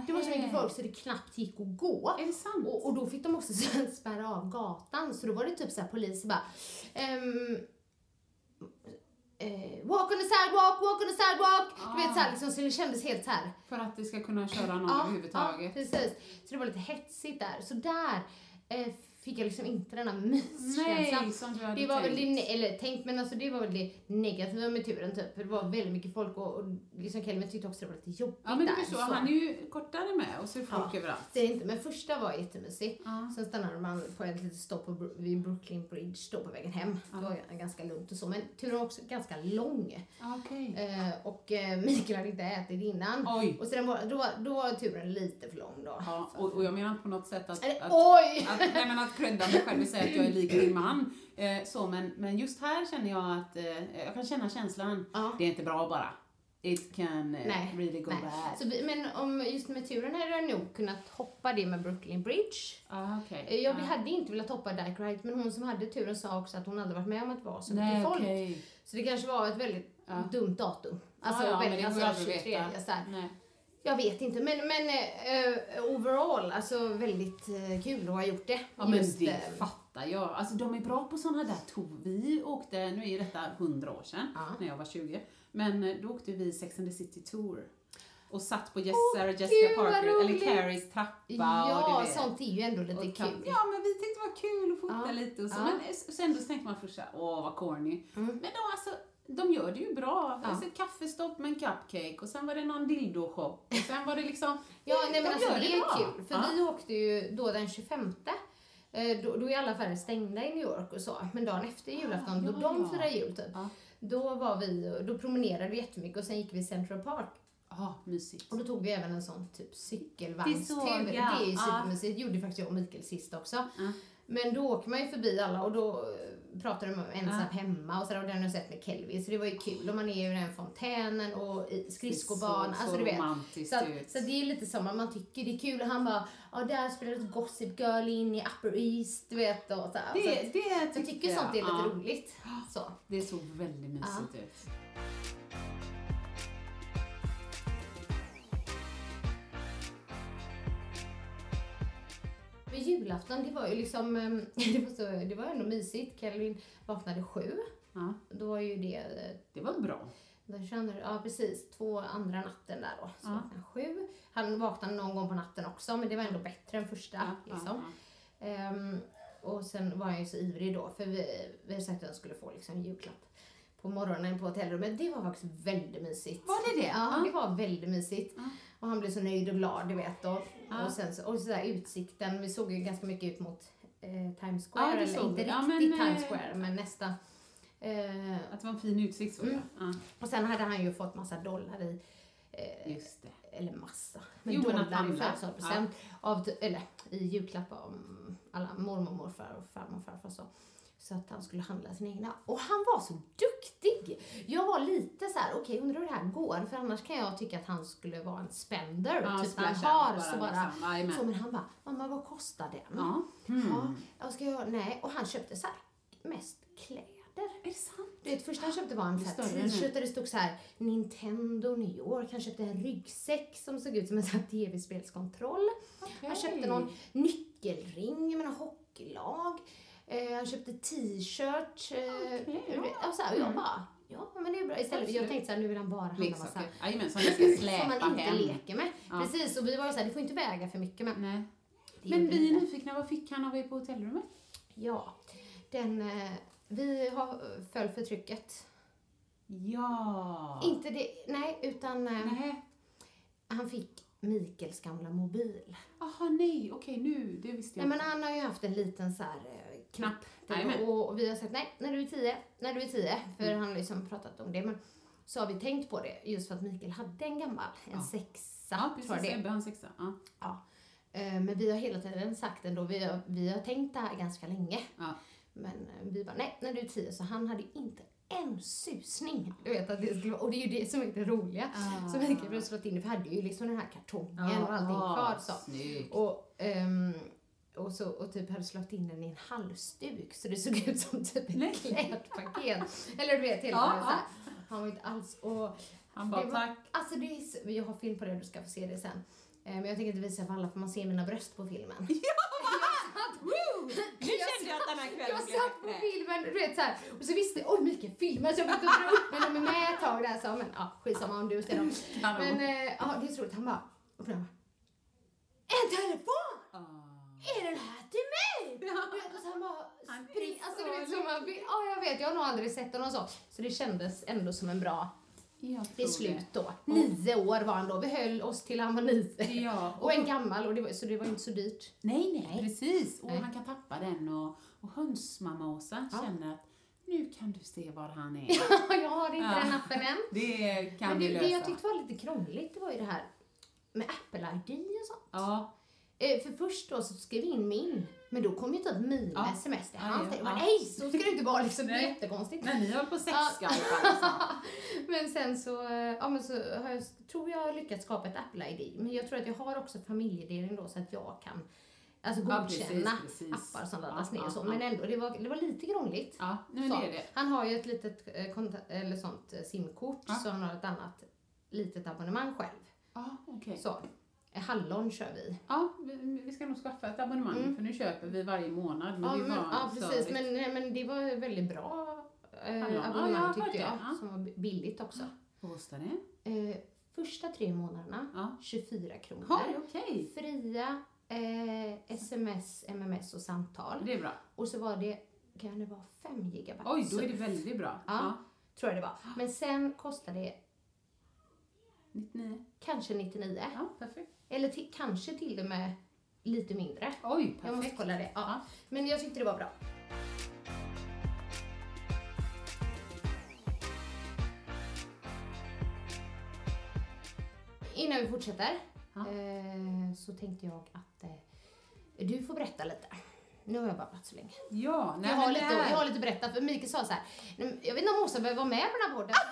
S3: Det var så mycket folk så det knappt gick att gå.
S1: Är det sant?
S3: Och, och då fick de också så här spärra av gatan, så då var det typ såhär poliser bara ehm, eh, Walk on the sidewalk, walk on the sidewalk! Du vet
S1: Ah.
S3: såhär liksom, så det kändes helt såhär
S1: För att det ska kunna köra någon
S3: Ja,
S1: överhuvudtaget.
S3: precis. Så det var lite hetsigt där. Så där eh, fick jag liksom inte den här myskänslan.
S1: Nej, som du hade
S3: Det var väl det,
S1: tänkt.
S3: ne- eller tänkt, men alltså det var väl det negativa med turen typ. För det var väldigt mycket folk och, och liksom Kelvin tyckte också det var lite jobbigt
S1: Ja men du
S3: där.
S1: förstår,
S3: så.
S1: han är ju kortare med och så är folk
S3: Ja,
S1: överallt.
S3: Det är inte, men första var jättemysig.
S1: Ja.
S3: Sen stannade man på ett litet stopp på, Bro- vid Brooklyn Bridge då på vägen hem. Det var ganska lugnt och så, men turen var också ganska lång.
S1: Okej.
S3: Eh, och eh, Mikael hade inte ätit innan.
S1: Oj.
S3: Och så den var, då, var- då var turen lite för lång då.
S1: Ja, och, och jag menar inte på något sätt att...
S3: Eller,
S1: att
S3: oj!
S1: Att, nej men att credda mig själv och säga att jag är lik min man. Eh, så, men, men just här känner jag att, eh, jag kan känna känslan,
S3: Ja.
S1: det är inte bra bara. It can eh,
S3: Nej.
S1: really go
S3: nej.
S1: bad.
S3: Så vi, men om just med turen hade jag nog kunnat hoppa det med Brooklyn Bridge.
S1: Ah, okej.
S3: Eh, Jag
S1: Ja.
S3: hade inte velat hoppa Dyke Ride, men hon som hade turen sa också att hon aldrig varit med om att det var så
S1: Nej,
S3: mycket folk.
S1: okej.
S3: Så det kanske var ett väldigt dumt datum. Alltså,
S1: ja, ja, men
S3: väldigt,
S1: det går
S3: alltså
S1: ju aldrig
S3: 23,
S1: att
S3: så här.
S1: veta. Nej.
S3: Jag vet inte, men, men eh, overall, alltså väldigt eh, kul att ha gjort det.
S1: Ja men
S3: Just,
S1: det
S3: eh,
S1: fattar jag. Alltså de är bra på sådana där tog. Vi åkte, nu är ju detta 100 år sedan,
S3: Ja.
S1: när jag var 20, men eh, då åkte vi Sex and the City Tour. Och satt på Jess,
S3: Åh,
S1: Sarah
S3: gud,
S1: Jessica
S3: vad
S1: Parker, eller
S3: roligt.
S1: Carries trappa och
S3: Ja,
S1: du vet.
S3: sånt är ju ändå lite
S1: Och
S3: kul.
S1: kapp- Ja, men vi tyckte det var kul att fota
S3: Ja.
S1: lite och så.
S3: Ja. Mm.
S1: Men s- och sen då tänkte man först såhär, åh vad corny. Men de alltså, de gör det ju bra.
S3: Ja.
S1: Alltså ett kaffestopp med en cupcake och sen var det någon dildo-shop. Och sen var det liksom,
S3: Ja, nej men
S1: de
S3: alltså
S1: gör
S3: det är
S1: bra.
S3: kul. För
S1: Ja.
S3: vi åkte ju då den 25. eh, Då, då är alla affärer stängda i New York och så. Men dagen efter julafton, då
S1: Ah, ja,
S3: de
S1: ja.
S3: firar jul typ.
S1: Ja.
S3: Då var vi, då promenerade vi jättemycket och sen gick vi Central Park.
S1: ah, mysigt.
S3: Och då tog vi även en sån typ cykelvagnstur.
S1: Det såg jag,
S3: Det är ju
S1: ja.
S3: supermysigt. Det gjorde faktiskt jag och Mikael sist också.
S1: Ja.
S3: Men då åker man ju förbi alla och då eh, pratar de om ensam hemma och sådär och den har jag sett med Kelvin så det var ju kul och man är ju i den fontänen och i skridskobanan,
S1: Det såg
S3: alltså
S1: så
S3: du vet.
S1: romantiskt
S3: så, att,
S1: ut.
S3: så att det är lite som att man tycker det är kul och han bara, ja där spelades Gossip Girl in i Upper East, du vet och så här. så
S1: Det,
S3: att,
S1: det
S3: Alltså, jag
S1: tyckte
S3: tycker sånt är lite
S1: ja.
S3: roligt. Så.
S1: Det såg väldigt mysigt ut.
S3: Men julafton, det var ju liksom, eh, det var, så, det var ändå mysigt. Kelvin vaknade sju.
S1: Ja,
S3: Då var ju det eh,
S1: det var bra.
S3: Den 22, ja precis, två andra natten där då. Så vaknade han sju. Han vaknade någon gång på natten också men det var ändå bättre än första. liksom. Ehm, och sen var han ju så ivrig då för vi, vi hade sagt att han skulle få liksom en julklapp på morgonen på hotellrummet. Det var faktiskt väldigt mysigt.
S1: Var det det?
S3: Ja,
S1: Ja.
S3: det var väldigt mysigt. Och han blev så nöjd och glad, du vet. Och, och sen så, och så där utsikten, vi såg ju ganska mycket ut mot eh, Times Square.
S1: Ja, det
S3: eller
S1: såg
S3: inte
S1: vi. Ja, men,
S3: riktigt Times
S1: eh,
S3: Square, men nästan. Eh,
S1: Att det var en fin utsikt såg jag. Ja,
S3: och sen hade han ju fått massa dollar i, eh,
S1: just det.
S3: eller massa, men
S1: Jo, men att
S3: dollar i
S1: handla.
S3: födelsedagspresent, av t- eller i julklapp av alla mormor, morfar och farmor och farfar så. Så att han skulle handla sina egna. Och han var så duktig! Jag var lite så här: okej undrar hur det här går, för annars kan jag tycka att han skulle vara en spender,
S1: Ja,
S3: typ
S1: splashar
S3: en har,
S1: bara
S3: så bara,
S1: liksom. Jajamän.
S3: så men han bara, mamma vad kostar den?
S1: Ja. Mm.
S3: Ja, jag ska göra, nej, och han köpte så här, mest kläder.
S1: Är det sant?
S3: Du vet, första han köpte var en så här
S1: större nu.
S3: t-shirt där det stod så här Nintendo New York. Han köpte en ryggsäck som såg ut som en sån här tv-spelskontroll. Han köpte någon nyckelring med någon hockeylag. Eh, han köpte t-shirt. Eh, och, så här, och jag bara, ja men det är bra. Istället,
S1: Mm.
S3: jag
S1: Absolut.
S3: tänkte så här, nu vill han bara handla massa
S1: Leksaker. Jajamän, som jag ska
S3: som
S1: släpa
S3: man inte
S1: hem.
S3: leker med. Precis, och vi var ju såhär, det får inte väga för mycket men
S1: Nej.
S3: Det
S1: Men
S3: gjorde
S1: vi är
S3: inte.
S1: nyfikna, vad fick han av er på hotellrummet?
S3: Ja, den, eh, vi har, föll för trycket.
S1: Ja.
S3: Inte det, nej, utan eh,
S1: Nej.
S3: han fick Mikels gamla mobil.
S1: Jaha, nej, okej nu, det visste
S3: Nej,
S1: jag
S3: men
S1: inte.
S3: han har ju haft en liten så här eh, knapp. där
S1: Jajamän. Mm.
S3: och, och vi har sagt nej, när du är tio, när du är tio. För han har liksom pratat om det. Men så har vi tänkt på det just för att Mikael hade en gammal, en
S1: Ja.
S3: sexa
S1: Ja,
S3: tror
S1: precis,
S3: jag det är.
S1: Ebbe han sexa. Ja.
S3: Ja. Eh, Men vi har hela tiden sagt ändå, vi har, vi har tänkt det här ganska länge.
S1: Ja.
S3: Men eh, vi bara, nej, när du är tio. Så han hade ju inte en susning. Du vet att det skulle vara, och det är ju det som är det roliga.
S1: Ah.
S3: Som Mikael blev slått in i, för hade ju liksom den här kartongen och allting
S1: Ah,
S3: kvar. Så.
S1: Snyggt.
S3: Och, ehm, och, så, och typ hade slått in den i en halsduk så det såg ut som typ
S1: Nej.
S3: ett klädpaket. Eller du vet, hela
S1: Ja,
S3: ja, så här. Han var inte alls... Och,
S1: Han bara
S3: det var-
S1: tack.
S3: Alltså det är, så- jag har film på det, du ska få se det sen. Eh, Men jag tänker inte visa för alla för man ser mina bröst på filmen.
S1: Woo! Nu kände jag att den här kvällen
S3: Jag satt på
S1: bättre.
S3: filmen, du vet såhär, och så visste jag, oj Mikael filmar så jag fick dra upp men de är med ett tag där så, men ja skitsamma om du ser dem.
S1: Kanon.
S3: Men eh, ja, det är så roligt, han bara, och Pernilla bara, en telefon!
S1: Ah.
S3: Är den här till mig?
S1: Ja.
S3: Du vet, och sen bara
S1: Han är
S3: spring, alltså du
S1: så
S3: vet som man, ja jag vet, jag har nog aldrig sett honom så. Så det kändes ändå som en bra
S1: Jag tror
S3: beslut
S1: det.
S3: då. Nio år var han då, vi höll oss till han var nio.
S1: Ja, och-
S3: Och en gammal, och det var, så det var ju inte så dyrt.
S1: Nej, nej, precis. Och
S3: Nej.
S1: han kan tappa den och, och hönsmamma-Åsa
S3: Ja.
S1: känner att nu kan du se var han är.
S3: jag har inte
S1: Ja.
S3: den appen än.
S1: Det kan
S3: Men
S1: vi
S3: det,
S1: lösa.
S3: det jag tyckte var lite krångligt, det var ju det här med Apple ID och sånt.
S1: Ja,
S3: Eh, För först då så skrev jag in min, men då kom ju typ mina
S1: Ja.
S3: sms till
S1: Ja,
S3: hans.
S1: ja,
S3: Jag bara,
S1: ja.
S3: Nej, så ska det inte vara liksom. Det är
S1: Nej.
S3: jättekonstigt.
S1: men ni höll på sex
S3: Ja.
S1: alltså.
S3: Men sen så, eh, ja, men så har jag, tror jag har lyckats skapa ett Apple-ID. Men jag tror att jag har också familjedelning då så att jag kan alltså,
S1: Ja,
S3: godkänna
S1: precis, precis.
S3: appar som laddas
S1: Ja,
S3: ner och så.
S1: ja, ja.
S3: Men ändå, det var, det var lite krångligt.
S1: Ja, nej, men
S3: Så.
S1: det är det.
S3: Han har ju ett litet eh, konta- eller sånt eh, simkort
S1: Ja.
S3: så han har ett annat litet abonnemang själv.
S1: Ja, okej.
S3: Så, eh, hallon kör vi.
S1: Ja, vi, vi ska nog skaffa ett abonnemang för nu köper vi varje månad. Men
S3: Mm.
S1: det är
S3: Ja, men,
S1: bara
S3: ja
S1: en
S3: precis.
S1: service.
S3: Men, nej, men det var väldigt bra
S1: Hallon. Ja,
S3: eh,
S1: jag
S3: abonnemang
S1: hörde
S3: tyckte jag.
S1: det, ja.
S3: Som var billigt också.
S1: Vad kostar det?
S3: Eh, första tre månaderna,
S1: Ja.
S3: 24 kronor.
S1: Oj, okej.
S3: Fria eh, sms, mms och samtal.
S1: Det är bra.
S3: Och så var det, kan det vara 5 gigabyte?
S1: Oj, då
S3: Så-
S1: är det väldigt bra.
S3: Ja, tror jag det var. Men sen kostade det
S1: 99.
S3: kanske 99.
S1: Ja, perfekt.
S3: Eller till, kanske till och med lite mindre.
S1: Oj, perfekt.
S3: Jag måste kolla det. Ja.
S1: Ja.
S3: Men jag tyckte det var bra. Innan vi fortsätter
S1: Ja.
S3: eh, så tänkte jag att eh, du får berätta lite. Nu har jag babblat så länge.
S1: Ja, nej,
S3: jag, har
S1: men det
S3: lite,
S1: här-
S3: jag har lite att berätta för Mikael sa så här. "Nej, men Jag vet inte om Åsa behöver vara med på den här podden.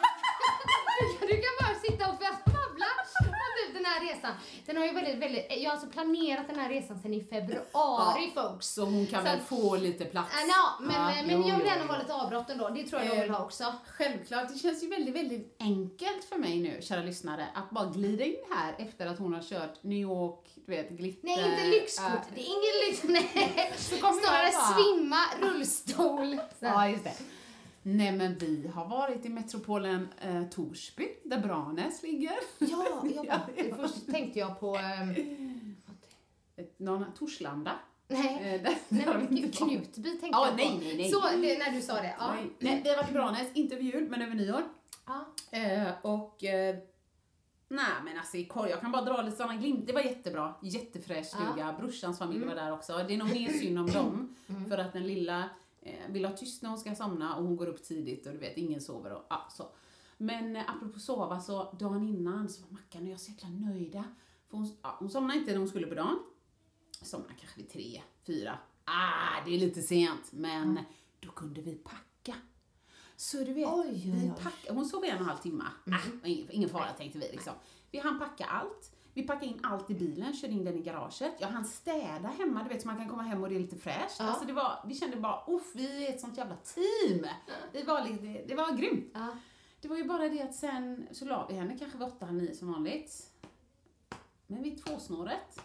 S3: Du kan- du kan bara sitta och babbla om typ den här resan. Den har ju väldigt, väldigt, jag har alltså planerat den här resan sedan i februari folks.
S1: Så hon kan
S3: Så
S1: väl
S3: att-
S1: få lite plats?
S3: Äh, ja, men,
S1: Ja,
S3: men
S1: jo,
S3: jag vill
S1: jo,
S3: gärna
S1: jo.
S3: ha lite avbrott ändå. Det tror jag de vill ha också.
S1: Självklart, det känns ju väldigt, väldigt enkelt för mig nu, kära lyssnare, att bara glida in här efter att hon har kört New York, du vet, glitter...
S3: Nej, inte lyxkort.
S1: äh,
S3: Det är ingen lyx. Nej.
S1: kommer jag
S3: Snarare
S1: bara-
S3: svimma, rullstol. Så.
S1: Ja, just det. Nej, men vi har varit i metropolen eh, Torsby, där Branäs ligger.
S3: Ja, jag bara,
S1: Ja, ja.
S3: först tänkte jag på... ehm,
S1: Någon, Torslanda.
S3: nej,
S1: Eh, där,
S3: nej
S1: där har
S3: men
S1: vi
S3: gud,
S1: inte varit.
S3: Knutby tänkte
S1: Ja,
S3: jag på.
S1: nej, nej, nej.
S3: Så, det, när du sa det. Ja.
S1: Nej, nej, vi har varit i Branäs, inte över jul, men över nyår.
S3: Ja.
S1: Eh, och... Eh, nej men alltså i korg, jag kan bara dra lite sådana glimt. Det var jättebra, jättefräsch stuga. Brorsans familj var där också. Det är nog mer synd om dem. För att den lilla eh, vill ha tyst när hon ska somna och hon går upp tidigt och du vet, ingen sover och ja, så. Men eh, apropå sova så, dagen innan så var Mackan och jag så jäkla nöjda. För hon, ja, hon somnade inte när hon skulle på dagen somnar kanske vid tre, fyra. Ah, det är lite sent, men då kunde vi packa. Så du vet,
S3: Oj, oj, Mm.
S1: vi
S3: oj.
S1: packade. Hon sov i en och en halv timme. Ah, ingen, ingen fara tänkte vi liksom. Vi hann packa allt. Vi packade in allt i bilen, körde in den i garaget. Jag hann städa hemma, du vet så man kan komma hem och det är lite fräscht.
S3: Ja.
S1: Alltså det var, vi kände bara, uff, vi är ett sånt jävla team. Det var, lite- det var grymt.
S3: Ja.
S1: Det var ju bara det att sen så la vi henne kanske vid åtta, halv nio som vanligt. Men vid tvåsnåret,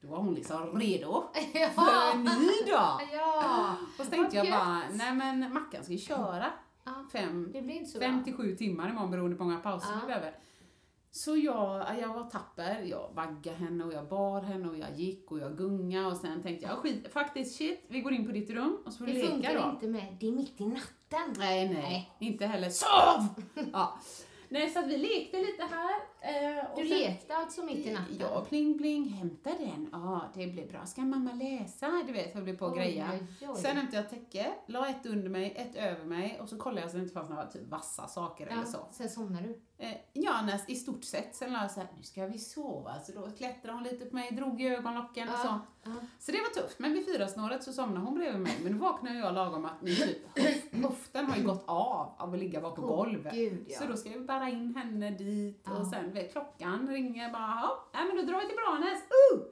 S1: då var hon liksom redo för en ny dag.
S3: Ja.
S1: Och så tänkte
S3: Vad
S1: jag bara,
S3: gött.
S1: nej men Mackan ska ju köra
S3: Ja.
S1: fem,
S3: Det blir inte så
S1: fem
S3: bra.
S1: till sju timmar imorgon beroende på hur många pauser
S3: Ja.
S1: vi behöver. Så jag, jag var tapper, jag vaggade henne och jag bar henne och jag gick och jag gungade och sen tänkte jag, skit, faktiskt shit, vi går in på ditt rum och så får du
S3: Det
S1: leka
S3: funkar
S1: då.
S3: inte med det är mitt i natten.
S1: Nej, nej, inte heller. Sov! ja. Nej, så att vi lekte lite här. eh, och
S3: Du
S1: sen-
S3: lekte alltså mitt i natten?
S1: Ja, Eh, pling pling, hämta den. Ja, det blir bra. Ska mamma läsa? Du vet, jag blev på och
S3: Oj,
S1: greja.
S3: oj, oj.
S1: Sen hämtade jag täcke, la ett under mig, ett över mig och så kollade jag så det inte fanns några typ vassa saker eller så.
S3: Ja, sen somnade du.
S1: Eh, ja, när, i stort sett. Sen la jag så här, nu ska vi sova. Så då klättrade hon lite på mig, drog i ögonlocken och så.
S3: Ja, ja.
S1: Så det var tufft, men vid fyrasnåret så somnade hon bredvid mig. Men då vaknade jag lagom att min typ höf- höften har ju gått av av att ligga bakom
S3: Åh,
S1: golvet.
S3: gud, ja.
S1: Så då ska vi bära in henne dit
S3: Ja.
S1: och sen vet, klockan ringer bara, "Ja, nej men då drar vi till Branäs. Uh!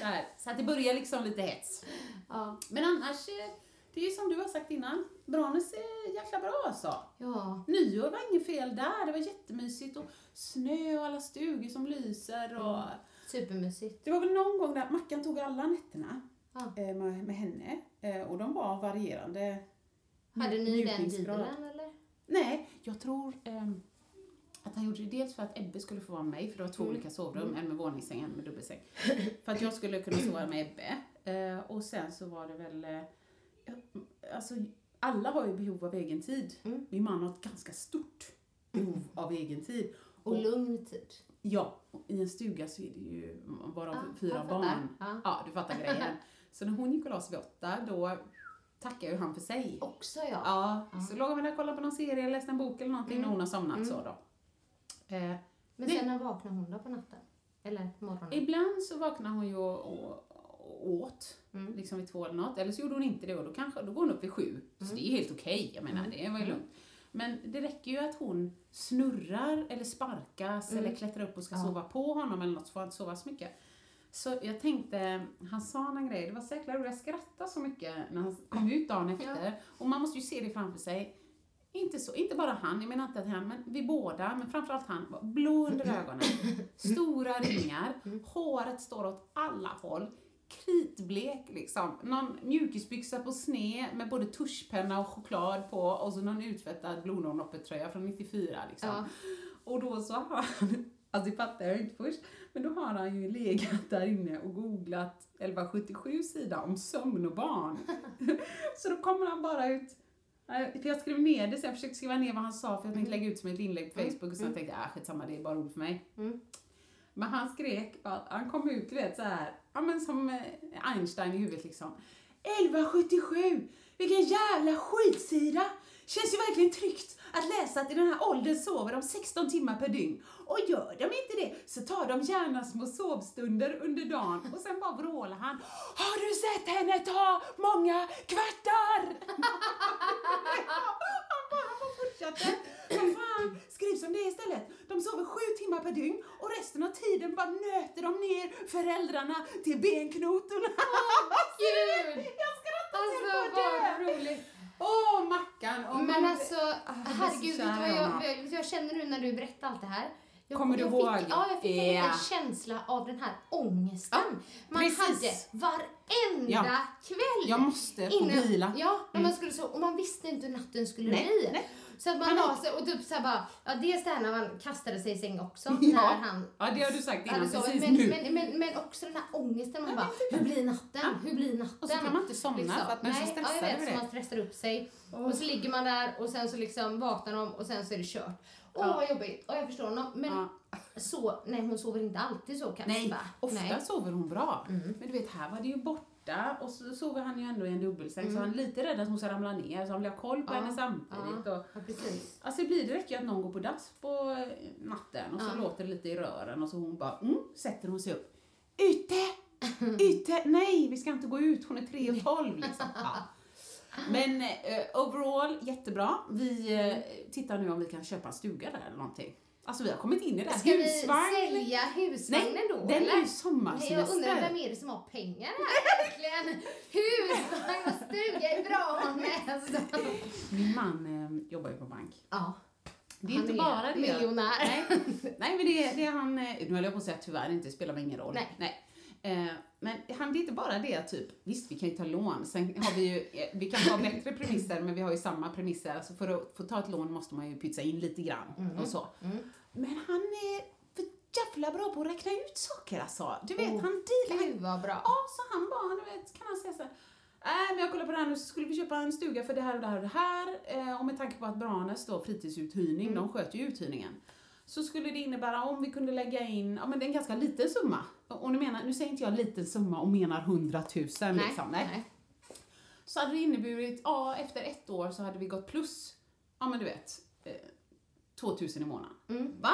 S1: Där. Så att det börjar liksom lite hets.
S3: Ja.
S1: Men annars, eh, det är ju som du har sagt innan, Branäs är jäkla bra alltså.
S3: ja.
S1: Nyår var inget fel där, det var jättemysigt och snö och alla stugor som lyser och
S3: Supermysigt.
S1: det var väl någon gång där Mackan tog alla nätterna
S3: Ja.
S1: eh, med, med henne eh, och de var varierande.
S3: Hade ni den
S1: njutningsgrad.
S3: dealen eller?
S1: Nej, jag tror ehm, att han gjorde det dels för att Ebbe skulle få vara med mig, för det var två olika sovrum, en med våningssäng och en med dubbelsäng. för att jag skulle kunna sova med Ebbe. Eh, och sen så var det väl, eh, ja, alltså alla har ju behov av egen tid.
S3: Mm.
S1: Min man har ett ganska stort behov av egen tid.
S3: Och lugn tid.
S1: Ja, och i en stuga så är det ju bara
S3: Ja,
S1: fyra
S3: Ah, jag fattar. Ah.
S1: barn.
S3: Ja.
S1: Ja, du fattar grejen. Så när hon gick och la sig vid åtta, då tackade ju han för sig.
S3: Också ja.
S1: Ja,
S3: Ah.
S1: så låg han där och kollade på någon serie, läste en bok eller någonting
S3: Mm.
S1: när hon har somnat så då. Eh,
S3: Men sen när vaknar hon då på natten? Eller morgonen?
S1: ibland så vaknade hon ju och, och, och åt, liksom vid två eller något. Eller så gjorde hon inte det och då, kanske, då går hon upp vid sju. Så det är helt okej, jag menar det var ju lugnt. Men det räcker ju att hon snurrar eller sparkas eller klättrar upp och ska sova på honom eller något så får han inte sova så mycket. Så jag tänkte, han sa en grej, det var så jäkla roligt, jag skrattade så mycket när han kom ut dagen efter. Och man måste ju se det framför sig. Inte, så, inte bara han, jag menar inte att han, men vi båda, men framförallt han, var blå under ögonen, stora ringar, håret står åt alla håll, kritblek liksom, någon mjukisbyxa på sne med både tuschpenna och choklad på och så någon utvättad blodnornloppetröja från 94 liksom.
S3: Ja.
S1: Och då så har han, alltså det fattar jag inte först, men då har han ju legat där inne och googlat 1177 sida om sömn och barn. så då kommer han bara ut Nej, För jag skrev ner det sen, jag försökte skriva ner vad han sa för jag tänkte lägga ut som ett inlägg på Facebook och sen tänkte jag, ah, skitsamma det är bara roligt för mig.
S3: Mm.
S1: Men han skrek, bara att han kom ut du vet så här, ja men som eh, Einstein i huvudet liksom. 1177! Vilken jävla skitsida! Känns ju verkligen tryggt att läsa att i den här åldern sover de 16 timmar per dygn. Och gör de inte det så tar de gärna små sovstunder under dagen. Och sen bara vrålar han. Har du sett henne ta många kvartar? Han bara han bara fortsatte. Vad fan, skriv som det är istället. De sover sju timmar per dygn och resten av tiden bara nöter de ner föräldrarna till benknotorna. Alltså,
S3: gud!
S1: Jag skrattar så
S3: Alltså
S1: jag får
S3: vad
S1: dö!
S3: roligt.
S1: Åh, Mackan! åh,
S3: Men
S1: man-
S3: alltså
S1: Ah, jag är så
S3: herregud, vet
S1: kär
S3: du vad
S1: i honom.
S3: jag, jag, jag känner nu när du berättar allt det här? Jag,
S1: Kommer du
S3: jag
S1: ihåg?
S3: Fick, ja, jag fick en
S1: Ja.
S3: liten känsla av den här ångesten man
S1: precis.
S3: hade varenda
S1: Ja.
S3: kväll.
S1: Jag måste få
S3: Innan-
S1: vila. Mm.
S3: Ja, när man skulle så, och man visste inte hur natten skulle
S1: Nej,
S3: bli.
S1: nej.
S3: Så att man
S1: Panik.
S3: la sig och typ såhär bara, ja dels det här när man kastade sig i säng också,
S1: Ja.
S3: när han
S1: Ja, det har du sagt innan,
S3: hade sovit.
S1: precis
S3: men,
S1: nu. typ.
S3: men, men, men också den här ångesten, man bara, hur blir natten? Hur blir natten? Liksom.
S1: Och så kan man inte somna för att man är så
S3: Nej,
S1: stressad
S3: ja, jag
S1: över
S3: vet,
S1: det.
S3: så man stressar upp sig. Och så ligger man där och sen så liksom vaknar de och sen så är det kört. Åh vad jobbigt, och jag förstår honom. Men så, nej hon sover inte alltid så kanske
S1: Nej,
S3: va?
S1: ofta
S3: Nej. Mm.
S1: sover hon bra. Men du vet, här var det ju borta och så sover han ju ändå i en dubbelsäng så han är lite rädd att hon ska ramla ner så han vill ha koll på henne samtidigt.
S3: Mm. Ja,
S1: Och,
S3: ja, precis.
S1: alltså det blir det räcker ju att någon går på dass på eh, natten och så låter det lite i rören och så hon bara, mm, sätter hon sig upp. Ute! Ute! Nej, vi ska inte gå ut, hon är tre och tolv liksom. Ja. Men eh, overall, jättebra. Vi eh, tittar nu om vi kan köpa en stuga där eller någonting. Alltså vi har kommit in i det här.
S3: Ska vi
S1: Husvagn.
S3: sälja husvagnen
S1: Nej,
S3: då?
S1: den
S3: eller?
S1: är ju
S3: Nej,
S1: sommarsemester.
S3: jag undrar vem är det som har pengar här egentligen? Husvagn och stuga i Branäs.
S1: Min man eh, jobbar ju på bank.
S3: Ja.
S1: Det är
S3: han
S1: inte bara det.
S3: miljonär.
S1: Nej, nej men det, är- det är han, eh, nu höll jag på att säga tyvärr inte, det spelar väl ingen roll.
S3: Nej.
S1: Eh, men han, det är inte bara det typ, visst vi kan ju ta lån, sen har vi ju, eh, vi kan ha bättre premisser men vi har ju samma premisser,
S3: Mm-hmm. Mm.
S1: alltså för att få ta ett lån måste man ju pytsa in lite grann och så. Men han är för jävla bra på att räkna ut saker alltså. Du vet,
S3: Åh,
S1: han dealar.
S3: Gud vad bra.
S1: Ja, så han bara, han vet, kan han säga så här. Nej, men jag kollar på det här nu så skulle vi köpa en stuga för det här och det här och det här. Eh, och med tanke på att Branäs då, fritidsuthyrning,
S3: Mm.
S1: de sköter ju uthyrningen. Så skulle det innebära om vi kunde lägga in, ja men det är en ganska liten summa. Och nu menar, nu säger inte jag liten summa och menar hundratusen
S3: Nej,
S1: liksom. Nej.
S3: nej.
S1: Så hade det inneburit, ja efter ett år så hade vi gått plus, ja men du vet, eh, 2000 i månaden.
S3: Mm.
S1: Va?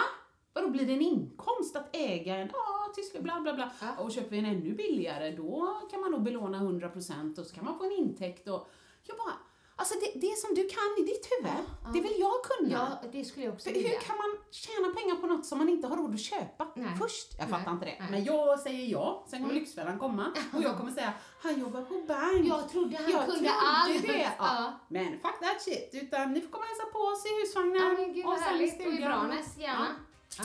S1: Vadå blir det en inkomst att äga en, ja till slut bla bla bla.
S3: Ja.
S1: Och köper vi en ännu billigare då kan man nog belåna 100% och så kan man få en intäkt och jag bara, alltså det, det som du kan i ditt huvud, det vill jag kunna.
S3: Ja, det skulle jag också
S1: För
S3: vilja.
S1: hur kan man tjäna pengar på något som man inte har råd att köpa
S3: Nej.
S1: först? Jag
S3: Nej.
S1: fattar inte det.
S3: Nej. Mm.
S1: Men jag säger ja, sen kommer Lyxfällan komma och jag kommer säga, han jobbar på bank.
S3: Jag trodde han
S1: Jag
S3: kunde
S1: trodde
S3: allt.
S1: det. Ja.
S3: Ja.
S1: Men fuck that shit, utan ni får komma och hälsa på oss i
S3: Ja,
S1: husvagnen.
S3: men gud
S1: och
S3: vad
S1: sen
S3: härligt. Och i
S1: stugan.
S3: Branäs, gärna. Ja.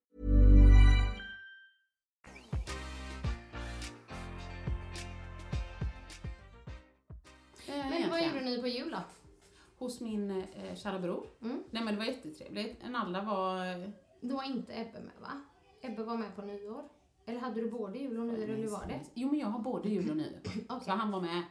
S1: Eh,
S3: Men vad
S1: egentligen.
S3: gjorde ni på jul då?
S1: Hos min eh, kära bror.
S3: Mm.
S1: Nej men det var jättetrevligt. En alla var... eh,
S3: Då var inte Ebbe med va? Ebbe var med på nyår. Eller hade du både jul och nyår eller hur var det?
S1: Jo men jag har både jul och nyår. Så
S3: Okej.
S1: han var med.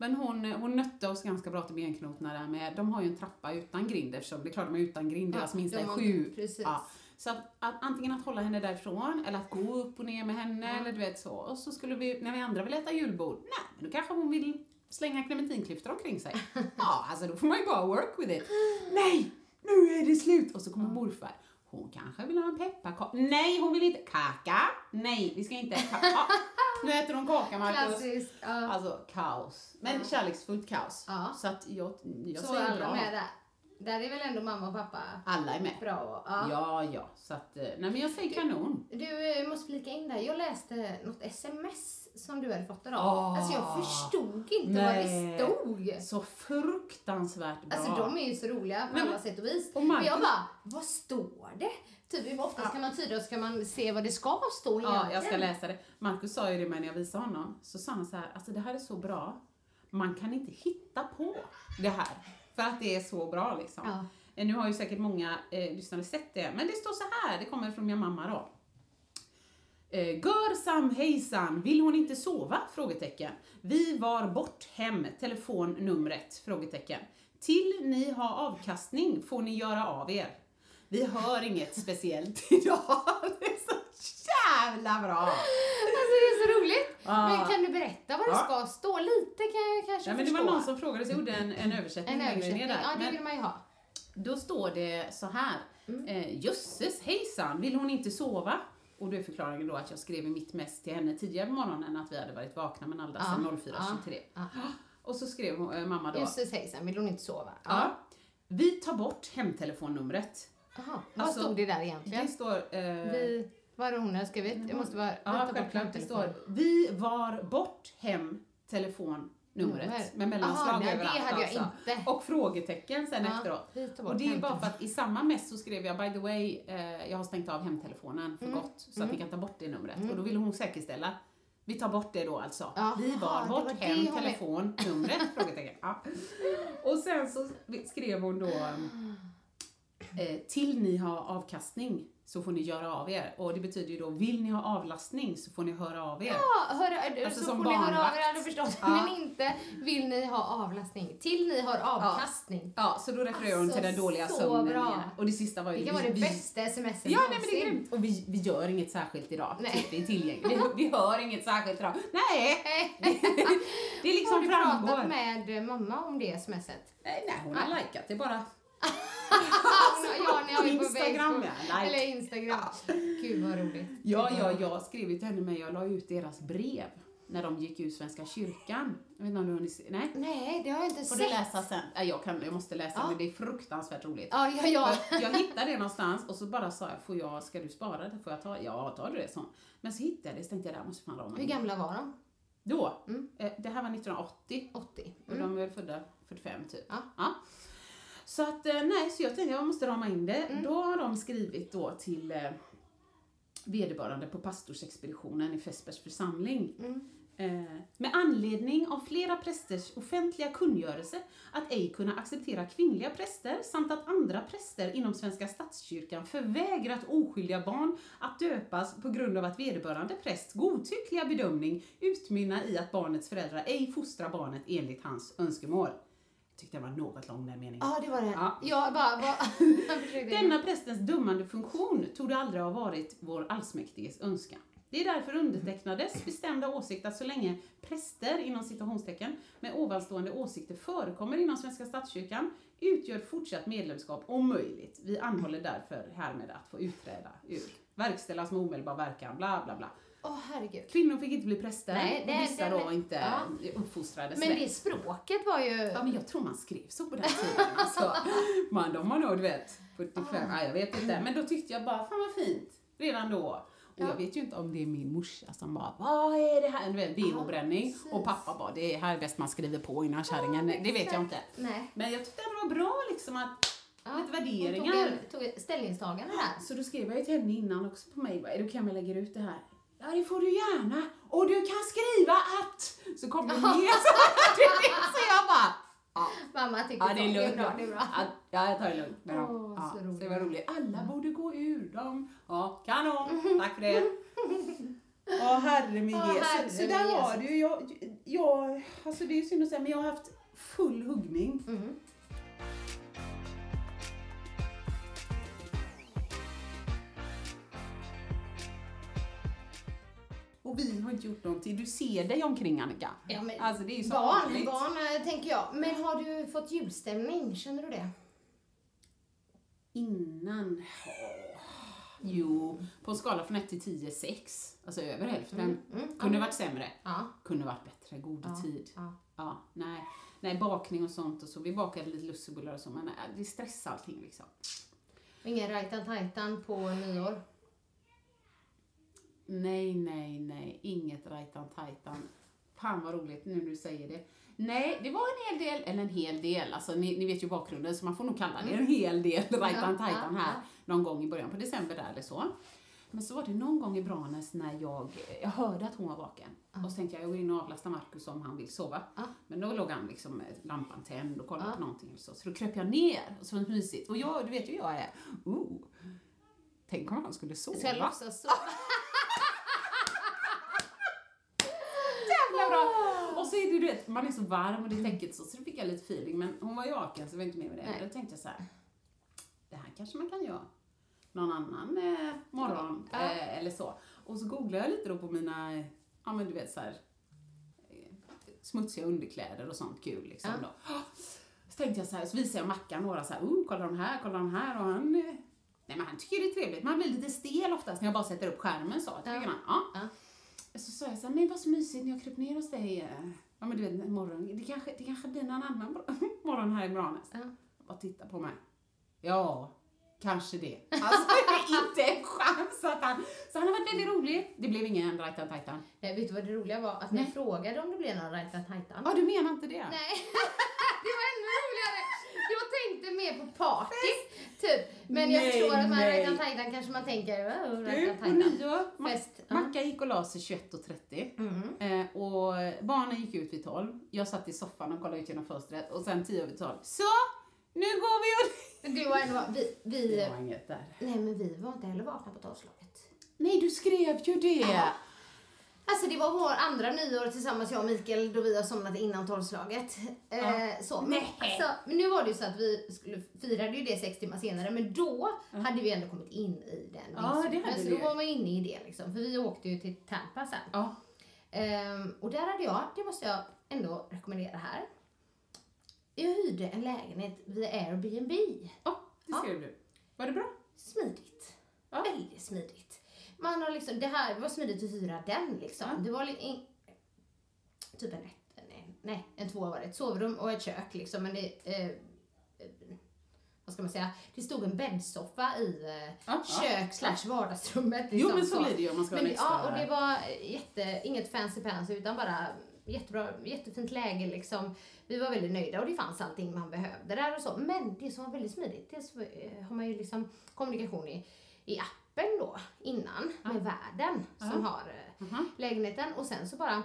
S1: Men hon, hon nötte oss ganska bra till benknotorna där med. De har ju en trappa utan grind eftersom det är klart de är utan grind.
S3: Ja,
S1: Deras minsta
S3: de
S1: är
S3: har-
S1: sju.
S3: precis.
S1: Ja. Så att, att antingen att hålla henne därifrån eller att gå upp och ner med henne eller du vet så. Och så skulle vi, när vi andra vill äta julbord, nej men då kanske hon vill slänga clementinklyftor omkring sig. ja, alltså då får man ju bara work with it. Nej, nu är det slut! Och så kommer morfar. Hon kanske vill ha en pepparkaka. Nej, hon vill inte. Kaka? Nej, vi ska inte. äta Kaka. Nu äter hon kaka, Marcus.
S3: Klassiskt. Ja.
S1: Alltså kaos. Men kärleksfullt kaos.
S3: Ja.
S1: Så att jag, jag
S3: Så
S1: säger
S3: alla
S1: bra.
S3: med där. Där är väl ändå mamma och pappa
S1: Alla är med.
S3: bra och, ja.
S1: Ja, ja. Så att, eh, nej men jag säger kanon.
S3: Du eh, måste flika in där. Jag läste något sms som du hade fått av
S1: Ah.
S3: Alltså jag förstod inte
S1: Nej.
S3: vad det stod.
S1: Så fruktansvärt bra.
S3: Alltså de är ju så roliga på
S1: Men-
S3: alla sätt och vis.
S1: och
S3: Och
S1: Marcus-
S3: jag bara, vad står det? Typ oftast kan man tyda och så kan man se vad det ska stå
S1: Ja,
S3: egentligen.
S1: jag ska läsa det. Markus sa ju det med när jag visade honom. Så sa han så här, alltså det här är så bra. Man kan inte hitta på det här. För att det är så bra liksom.
S3: Ja.
S1: Eh, Nu har ju säkert många eh, lyssnare sett det. Men det står så här, det kommer från min mamma då. Eh, Görsam hejsan, vill hon inte sova? Frågetecken. Vi var bort hem, telefonnumret? Frågetecken. Till ni har avkastning får ni göra av er. Vi hör inget speciellt idag. Det är så jävla bra!
S3: Alltså det är så roligt.
S1: Ja.
S3: Men kan du berätta vad det
S1: Ja.
S3: ska stå? Lite kan jag kanske
S1: Ja, men det
S3: förstå.
S1: var någon som frågade, så jag gjorde en, en översättning
S3: en
S1: längre ner
S3: översättning.
S1: där.
S3: Ja, det
S1: Men-
S3: vill man Mm. ju ha.
S1: Då står det så här. Eh, Jösses hejsan, vill hon inte sova? Och då är förklaringen då att jag skrev i mitt mest till henne tidigare på morgonen att vi hade varit vakna men alla sedan
S3: Ja,
S1: 04.23.
S3: ja,
S1: Och så skrev hon, eh, mamma då.
S3: Jösses hejsan, vill hon inte sova?
S1: Ja. Vi tar bort hemtelefonnumret.
S3: Jaha, vad
S1: Alltså,
S3: stod det där egentligen?
S1: Det står... Eh,
S3: Vi, vad är det hon har skrivit? Jag måste bara
S1: ja,
S3: ta bort
S1: självklart. Det
S3: telefonen.
S1: står vi var bort hem telefonnumret.
S3: Nummer.
S1: Med mellanslag
S3: Aha, nej, det
S1: överallt
S3: hade jag
S1: alltså.
S3: inte.
S1: Och frågetecken sen
S3: Ja, vi
S1: efteråt.
S3: tar bort
S1: Och det är ju
S3: hem-
S1: bara för att i samma mess så skrev jag by the way, eh, jag har stängt av hemtelefonen för
S3: Mm.
S1: gott så att ni kan ta bort det numret. Och då ville hon säkerställa. Vi tar bort det då alltså.
S3: Jaha,
S1: vi var
S3: det
S1: bort
S3: var det
S1: hem
S3: hon-
S1: telefonnumret? frågetecken. Ja. Och sen så skrev hon då eh, till ni har avkastning så får ni göra av er. Och det betyder ju då, vill ni ha avlastning så får ni höra av er.
S3: Ja, hör,
S1: Alltså,
S3: så
S1: som
S3: får ni höra av
S1: barnvakt.
S3: er, hade förstås.
S1: Ja.
S3: Men inte vill ni ha avlastning. Till ni har avkastning.
S1: Ja, så då refererar hon till den
S3: Alltså,
S1: dåliga
S3: så
S1: sömnen
S3: bra.
S1: igen. Och det sista var ju...
S3: Det kan vara
S1: vi-
S3: det
S1: vi-
S3: bästa sms
S1: Ja, nej men det är grymt. Och vi, vi gör inget särskilt idag.
S3: Nej.
S1: Typ, vi är tillgängliga. Vi, vi hör inget särskilt idag. Nej! Det är
S3: Har
S1: liksom
S3: du
S1: framgår.
S3: pratat med eh, mamma om det smset?
S1: Nej, nej, hon har likat det bara.
S3: Alltså, ja, när jag är på
S1: Instagram,
S3: Facebook.
S1: ja, like.
S3: Eller Instagram. Gud vad roligt.
S1: Ja, ja, jag skrev ju till henne men jag la ut deras brev. när de gick ur Svenska kyrkan. Jag vet inte om du har hunnit se- Nej?
S3: Nej, det har jag inte
S1: Får
S3: sett.
S1: du läsa sen? Nej, jag, kan, jag måste läsa,
S3: Ja.
S1: men det är fruktansvärt roligt.
S3: Ja, ja, ja.
S1: Jag, jag hittade det någonstans och så bara sa jag, får jag, ska du spara det? Får jag ta? Ja, tar du det? Så. Men så hittade jag det, så tänkte jag, det här måste fan
S3: Hur
S1: ramen.
S3: gamla var de?
S1: Då,
S3: Mm.
S1: eh, det här var 1980
S3: 80?
S1: och de var väl födda 45 typ.
S3: Ja.
S1: Så att, eh, nej, så jag tänkte jag måste rama in det.
S3: Mm.
S1: Då har de skrivit då till eh, vederbörande på pastorsexpeditionen i Fässbergs församling. Eh, med anledning av flera prästers offentliga kungörelse att ej kunna acceptera kvinnliga präster samt att andra präster inom Svenska statskyrkan förvägrat oskyldiga barn att döpas på grund av att vederbörande prästs godtyckliga bedömning utmynnar i att barnets föräldrar ej fostrar barnet enligt hans önskemål. Jag tyckte den var något lång den meningen.
S3: Ja, det var det.
S1: Ja.
S3: Jag bara, vad... jag försökte-
S1: Denna prästens dömande funktion tog aldrig ha varit vår allsmäktiges önskan. Det är därför undertecknades bestämda åsikt att så länge präster inom citationstecken med ovanstående åsikter förekommer inom Svenska statskyrkan utgör fortsatt medlemskap omöjligt. Vi anhåller därför härmed att få utträda ur. Verkställas med omedelbar verkan, bla bla bla.
S3: Åh, herregud.
S1: Kvinnor fick inte bli präster
S3: Nej, det-
S1: och vissa
S3: det-
S1: då inte
S3: ja.
S1: uppfostrades
S3: Men
S1: rätt.
S3: det språket var ju...
S1: Ja, men jag tror man skrev så på den tiden. Alltså, man, de har nog, du vet, 45, nej, jag vet inte. Men då tyckte jag bara, fan vad fint, redan då. Och jag vet ju inte om det är min morsa som bara, vad är det här? Du vet, veobränning. och pappa bara, det är här är bäst man skriver på innan kärringen. det vet jag inte.
S3: Nej.
S1: Men jag tyckte det var bra liksom att,
S3: Ja,
S1: lite
S3: hon Tog,
S1: värderingar.
S3: en- tog ett ställningstagande där.
S1: Så då skrev jag ju till henne innan också på mig, bara, är du okej om jag lägger ut det här? Ja, det får du gärna. Och du kan skriva att... Så kom det ner så här, du vet, Så jag bara, ja.
S3: Mamma tyckte
S1: Ja, det är lugnt.
S3: bra, det är bra.
S1: Ja, Ja, jag tar det lugnt med dem.
S3: Åh,
S1: ja,
S3: så
S1: så det
S3: roligt. Mm.
S1: var roligt. Alla borde gå ur dem. Ja, kanon. Tack för det. Ja, herre min
S3: Ja, herre
S1: Jesus. Så där
S3: min
S1: var det ju. Jag, jag, alltså det är ju synd att säga, men jag har haft full huggning.
S3: Mm.
S1: Och vi har inte gjort någonting. Du ser dig omkring Annika.
S3: Ja, men
S1: alltså det är ju så
S3: barn,
S1: vanligt.
S3: barn eh, tänker jag. Men har du fått julstämning? Känner du det?
S1: Innan? Jo, på en skala från 1 till 10, 6. Alltså över hälften. Kunde varit sämre.
S3: Mm, Ja.
S1: Kunde varit bättre. God tid.
S3: ja.
S1: nej. nej, bakning och sånt och så. Vi bakade lite lussebullar och så, men nej, det stressar allting liksom.
S3: Ingen rajtan tajtan på nyår?
S1: Nej, nej, nej. Inget rajtan tajtan. Fan vad roligt nu när du säger det. Nej, det var en hel del, eller en hel del, alltså ni, ni vet ju bakgrunden så man får nog kalla det en hel del rajtan tajtan här någon gång i början på december där eller så. Men så var det någon gång i Branäs när jag, jag hörde att hon var vaken. Och så tänkte jag, jag går in och avlastar Markus om han vill sova. Men då låg han liksom med lampan tänd och kollade på någonting. eller Så. så då kröp jag ner, och så var det mysigt. Och jag, du vet ju hur jag är, oh, tänk om han skulle sova.
S3: Ska jag låtsas så?
S1: jävla bra.
S3: Ah.
S1: Och så är det, du vet, man är så varm och det är täcket så, så då fick jag lite feeling. Men hon var ju vaken så jag var inte med med det.
S3: Nej.
S1: Då tänkte jag så här, det här kanske man kan göra någon annan eh, morgon
S3: Ja.
S1: eh, eller så. Och så googlade jag lite då på mina, eh, ja men du vet så här, eh, smutsiga underkläder och sånt kul liksom
S3: Ja.
S1: då. Så tänkte jag så här, så visade jag Mackan några så här, oh, kolla de här, kolla de här och han, eh, nej men han tycker det är trevligt. Man blir lite stel oftast när jag bara sätter upp skärmen så, tycker
S3: Ja.
S1: han. Ja.
S3: Ja.
S1: Så sa jag så här, men vad så mysigt när jag kröp ner hos dig. eh, Ja men du vet, morgon. Det kanske, det kanske blir någon annan mor- morgon här i Branäs.
S3: Ja.
S1: Bara titta på mig. Ja, kanske det. Alltså det är inte en chans att han... Så han har varit väldigt rolig. Det blev ingen rajtan tajtan.
S3: Nej, vet du vad det roliga var? Att ni frågade om det blev någon rajtan tajtan.
S1: Ja, du menar inte det?
S3: Nej, det var ännu roligare. Jag tänkte mer på party, typ. Men jag
S1: Nej,
S3: förstår att man
S1: nej.
S3: rajtan tajtan kanske man tänker, oh,
S1: Du,
S3: rajtan
S1: på
S3: tajtan.
S1: nyår, ma-
S3: Fest, ja. Mm.
S1: Macka gick och la sig 21.30 eh, och barnen gick ut vid 12. Jag satt i soffan och kollade ut genom fönstret och sen 10 över 12. Så, nu går vi och...
S3: Men du var ändå, vi, vi,
S1: Det var inget där.
S3: nej men vi var inte heller vakna på tolvslaget.
S1: Nej, du skrev ju det!
S3: Alltså det var vår andra nyår tillsammans jag och Mikael då vi har somnat innan tolvslaget. Eh, så. Men, alltså, men nu var det ju så att vi skulle, firade ju det sex timmar senare men då hade vi ändå kommit in i den
S1: Ja, det
S3: dygnsrytmen,
S1: hade
S3: Så
S1: vi
S3: då
S1: ju.
S3: var man inne i det liksom. För vi åkte ju till Tampa sen.
S1: Ja.
S3: Ehm, och där hade jag, det måste jag ändå rekommendera här. Jag hyrde en lägenhet via Airbnb.
S1: Ja, det skrev du. Var det bra?
S3: Smidigt.
S1: Ja.
S3: Väldigt smidigt. Man har liksom, det här det var smidigt att hyra den liksom. Det var li- in, typ en, ett, en, en, nej, en tvåa var det. Ett sovrum och ett kök liksom. Men det, eh, eh, vad ska man säga? Det stod en bäddsoffa i eh,
S1: Ja, ja.
S3: kök slash vardagsrummet. liksom.
S1: Jo, men så blir det ju om man ska
S3: Men
S1: ha
S3: det-
S1: en extra-
S3: Ja, och det var jätte, inget fancy pansy utan bara jättebra, jättefint läge liksom. Vi var väldigt nöjda och det fanns allting man behövde där och så. Men det som var väldigt smidigt, det så, eh, har man ju liksom kommunikation i, i appen då innan med värden som har eh,
S1: Mhm.
S3: lägenheten och sen så bara,